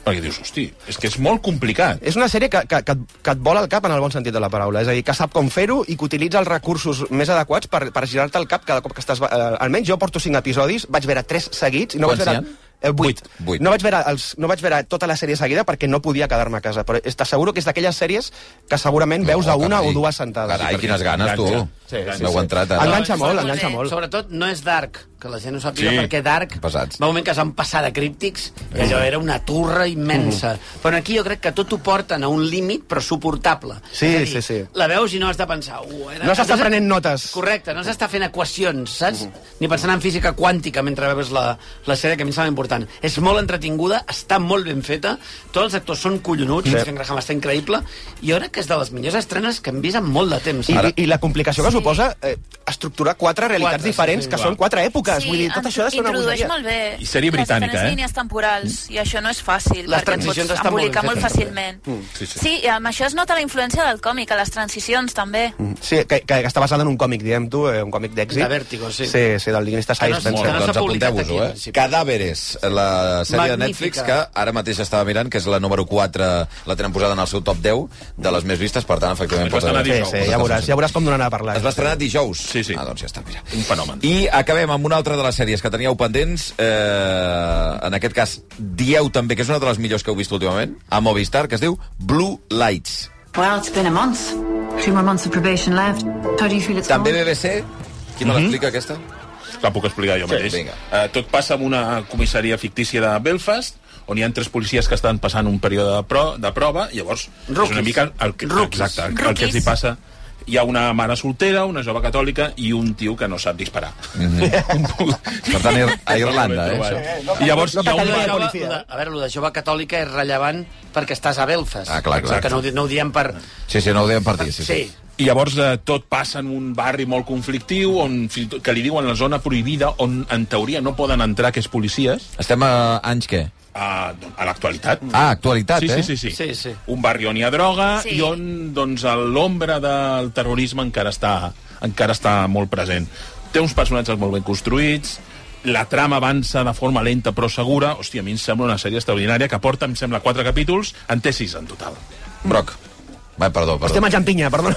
E: Perquè dius, hosti, és que és molt complicat.
B: És una sèrie que, que, que, et, que et vola el cap en el bon sentit de la paraula. És a dir, que sap com fer-ho i que utilitza els recursos més adequats per, per girar-te el cap cada cop que estàs... Eh, almenys jo porto cinc episodis, vaig veure tres seguits i no
A: Quants
B: vaig
A: hi
B: veure... Eh, vuit.
A: Vuit, vuit.
B: No, vaig veure els, no vaig veure tota la sèrie seguida perquè no podia quedar-me a casa, però és- t'asseguro que és d'aquelles sèries que segurament veus a una
A: carai.
B: o dues sentades.
A: Carai,
B: Sí,
A: quines ganes, tu.
E: Enganxa.
A: Sí,
E: Sí,
A: sí,
E: sí,
A: L'heu
E: sí.
A: entrat eh? ara.
B: Enganxa molt,
C: Està molt
B: enganxa
C: bé.
B: molt.
C: Sobretot no és Dark, que la gent no sàpiga
E: Sí.
C: sí. perquè Dark
A: Pesats.
C: va un moment que es van passar de críptics i allò era una turra immensa.
B: Mm.
C: Però aquí jo crec que tot ho porten a un límit, però suportable.
B: Sí,
C: És a
B: sí, sí.
C: La veus i no has de pensar... Uh, era...
B: No s'està prenent notes. Mm-hmm.
C: Correcte, no s'està fent equacions, saps? Ni pensant en física quàntica mentre veus la, la sèrie, que a mi em sembla important. És molt entretinguda, està molt ben feta, tots els actors són collonuts, sí. Vincent Graham està increïble, i jo crec que és de les millors estrenes que hem vist en molt de temps.
B: I, i, I la complicació que suposa eh, estructurar quatre realitats
C: Quatre, sí,
B: diferents,
C: sí,
B: que
C: va.
B: són quatre èpoques. Vull dir, tot
F: en-
B: això ha de ser una
F: introdueix
B: bogeria.
F: molt bé
E: I sèrie britànica,
F: les diferents
E: eh?
F: línies temporals, i això no és fàcil,
C: Les
F: perquè et
C: transicions
F: pots
C: estan molt ben
F: embolicar molt,
C: fetes,
F: fàcilment. Mm,
E: sí, sí.
F: sí, i amb això es nota la influència del còmic, a les transicions també. Mm.
B: Sí, que, que, que està basada en un còmic, diguem tu, eh, un còmic d'èxit.
C: De Vértigo, sí.
B: Sí, sí, del guionista
C: Que
B: Sáenz
C: no és
B: Spencer.
A: Molt,
C: no s'ha
A: doncs
C: publicat
A: apunteu-vos-ho,
C: aquí, en
A: eh?
C: principi.
A: Cadàveres, la sèrie de
C: Magnífica.
A: Netflix que ara mateix estava mirant, que és la número 4, la tenen posada en el seu top 10 de les més vistes, per tant, efectivament...
E: Es va
A: pot haver-
B: Sí,
E: estrenar dijous.
B: sí, ja veuràs, ja veuràs com donarà a parlar.
A: Es va estrenar dijous.
E: Sí, sí.
A: Ah, doncs ja està, mira.
E: Un fenomen.
A: I acabem amb una altra de les sèries que teníeu pendents. Eh, en aquest cas, dieu també que és una de les millors que heu vist últimament, a Movistar, que es diu Blue Lights.
J: Well, it's been a month. Two more months of probation left. How do you feel it's
A: També
J: going?
A: BBC. Qui
B: Mhm.
A: me l'explica, aquesta?
E: La puc explicar jo
A: Sí,
E: mateix.
A: vinga.
E: Eh, tot passa en una comissaria fictícia de Belfast, on hi ha tres policies que estan passant un període de, pro, de prova, llavors és
C: Rookies.
E: una mica el que,
C: Rookies.
E: exacte, el, el
F: Rookies.
E: que els hi passa hi ha una mare soltera, una jove catòlica i un tio que no sap disparar. [LAUGHS] Mm -hmm.
A: Per tant, Ir- a Mhm. Irlanda, eh, això.
E: I llavors hi ha un
C: Allò de
E: bar...
C: jove- de- a veure, lo de jove catòlica és rellevant perquè estàs a Belfast.
A: Ah, clar, clar.
C: Que no, ho di- no ho diem per...
A: Sí, sí, no ho deien per dir. Sí, sí.
C: Sí.
E: I llavors eh, tot passa en un barri molt conflictiu on, fins i tot, que li diuen la zona prohibida on en teoria no poden entrar aquests policies
A: Estem a anys què?
E: a, doncs, a l'actualitat.
A: Ah, actualitat,
E: Mm. sí,
A: eh?
E: sí, sí, sí.
C: Sí, sí.
E: Un barri on hi ha droga
F: Sí.
E: i on doncs, l'ombra del terrorisme encara està, encara està molt present. Té uns personatges molt ben construïts, la trama avança de forma lenta però segura. Hòstia, a mi em sembla una sèrie extraordinària que porta, em sembla, quatre capítols, en té sis en total.
A: Broc. Vai, perdó, perdó.
B: Estem menjant pinya, perdona.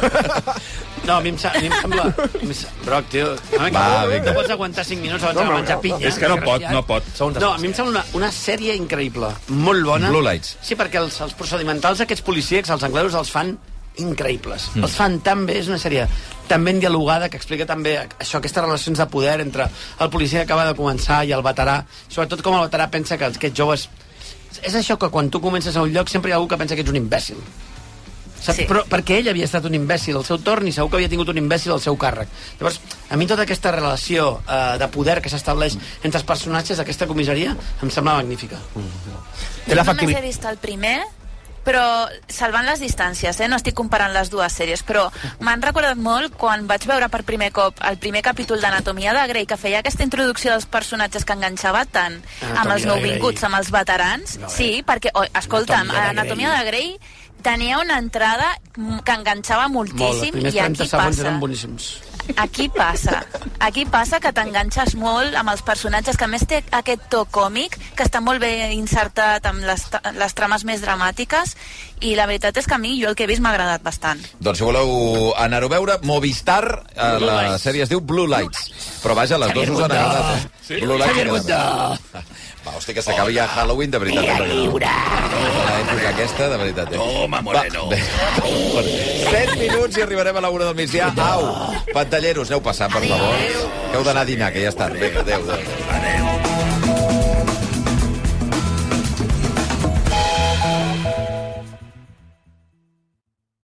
C: No, a mi em, sa- a mi em sembla... a mi em sa- Broc, tio, no,
A: Va,
C: va,
A: vinga.
C: no pots aguantar 5 minuts abans de menjar pinya.
E: És que no pot,
C: desgraciat.
E: no pot.
C: No, a mi em sembla una, una sèrie increïble, molt bona.
A: Blue Lights.
C: Sí, perquè els, els procedimentals aquests policíacs, els anglesos, els fan increïbles. Mm. Els fan tan bé, és una sèrie tan ben dialogada, que explica també això, aquestes relacions de poder entre el policia que acaba de començar i el veterà, sobretot com el veterà pensa que els- aquests joves... És això que quan tu comences a un lloc sempre hi ha algú que pensa que ets un imbècil. Saps?
F: Sí.
C: Sí. Però perquè ell havia estat un imbècil al seu torn i segur que havia tingut un imbècil al seu càrrec. Llavors, a mi tota aquesta relació eh, de poder que s'estableix entre els personatges d'aquesta comissaria em sembla magnífica.
F: Mm.
B: Té
F: Jo només he
B: l'efectivitat.
F: vist el primer, però salvant les distàncies, eh? no estic comparant les dues sèries, però m'han recordat molt quan vaig veure per primer cop el primer capítol d'Anatomia de Grey, que feia aquesta introducció dels personatges que enganxava tant amb
C: Anatomia
F: els
C: de
F: nouvinguts,
C: Grey.
F: amb els veterans.
C: No, eh?
F: Sí, perquè, oh, escolta'm,
C: Anatomia de
F: Anatomia de Grey tenia una entrada mm, que enganxava
C: Molt, els
F: moltíssim
C: primers
F: i
C: 30
F: aquí
C: segons
F: passa.
C: eren boníssims.
F: Aquí passa. Aquí passa que t'enganxes molt amb els personatges, que a més té aquest to còmic, que està molt bé insertat amb les, ta- les trames més dramàtiques, i la veritat és que a mi, jo el que he vist m'ha agradat bastant.
A: Doncs si voleu anar-ho a veure, Movistar, eh,
C: Blue
A: la
C: Lights.
A: sèrie es diu Blue Lights. Però vaja, les dues us han agradat, eh? Sí. Blue Lights.
C: Xavier Bundó.
A: [LAUGHS] Va, hòstia, que s'acabi ja Halloween, de veritat. eh, Via lliure. L'època aquesta, de veritat. Eh? Toma, Moreno. Va, bé. Set minuts i arribarem a la una del migdia. Au, pantalleros, aneu passant, per favor. Que heu d'anar a dinar, que ja està. Vinga, adéu. adéu. adéu.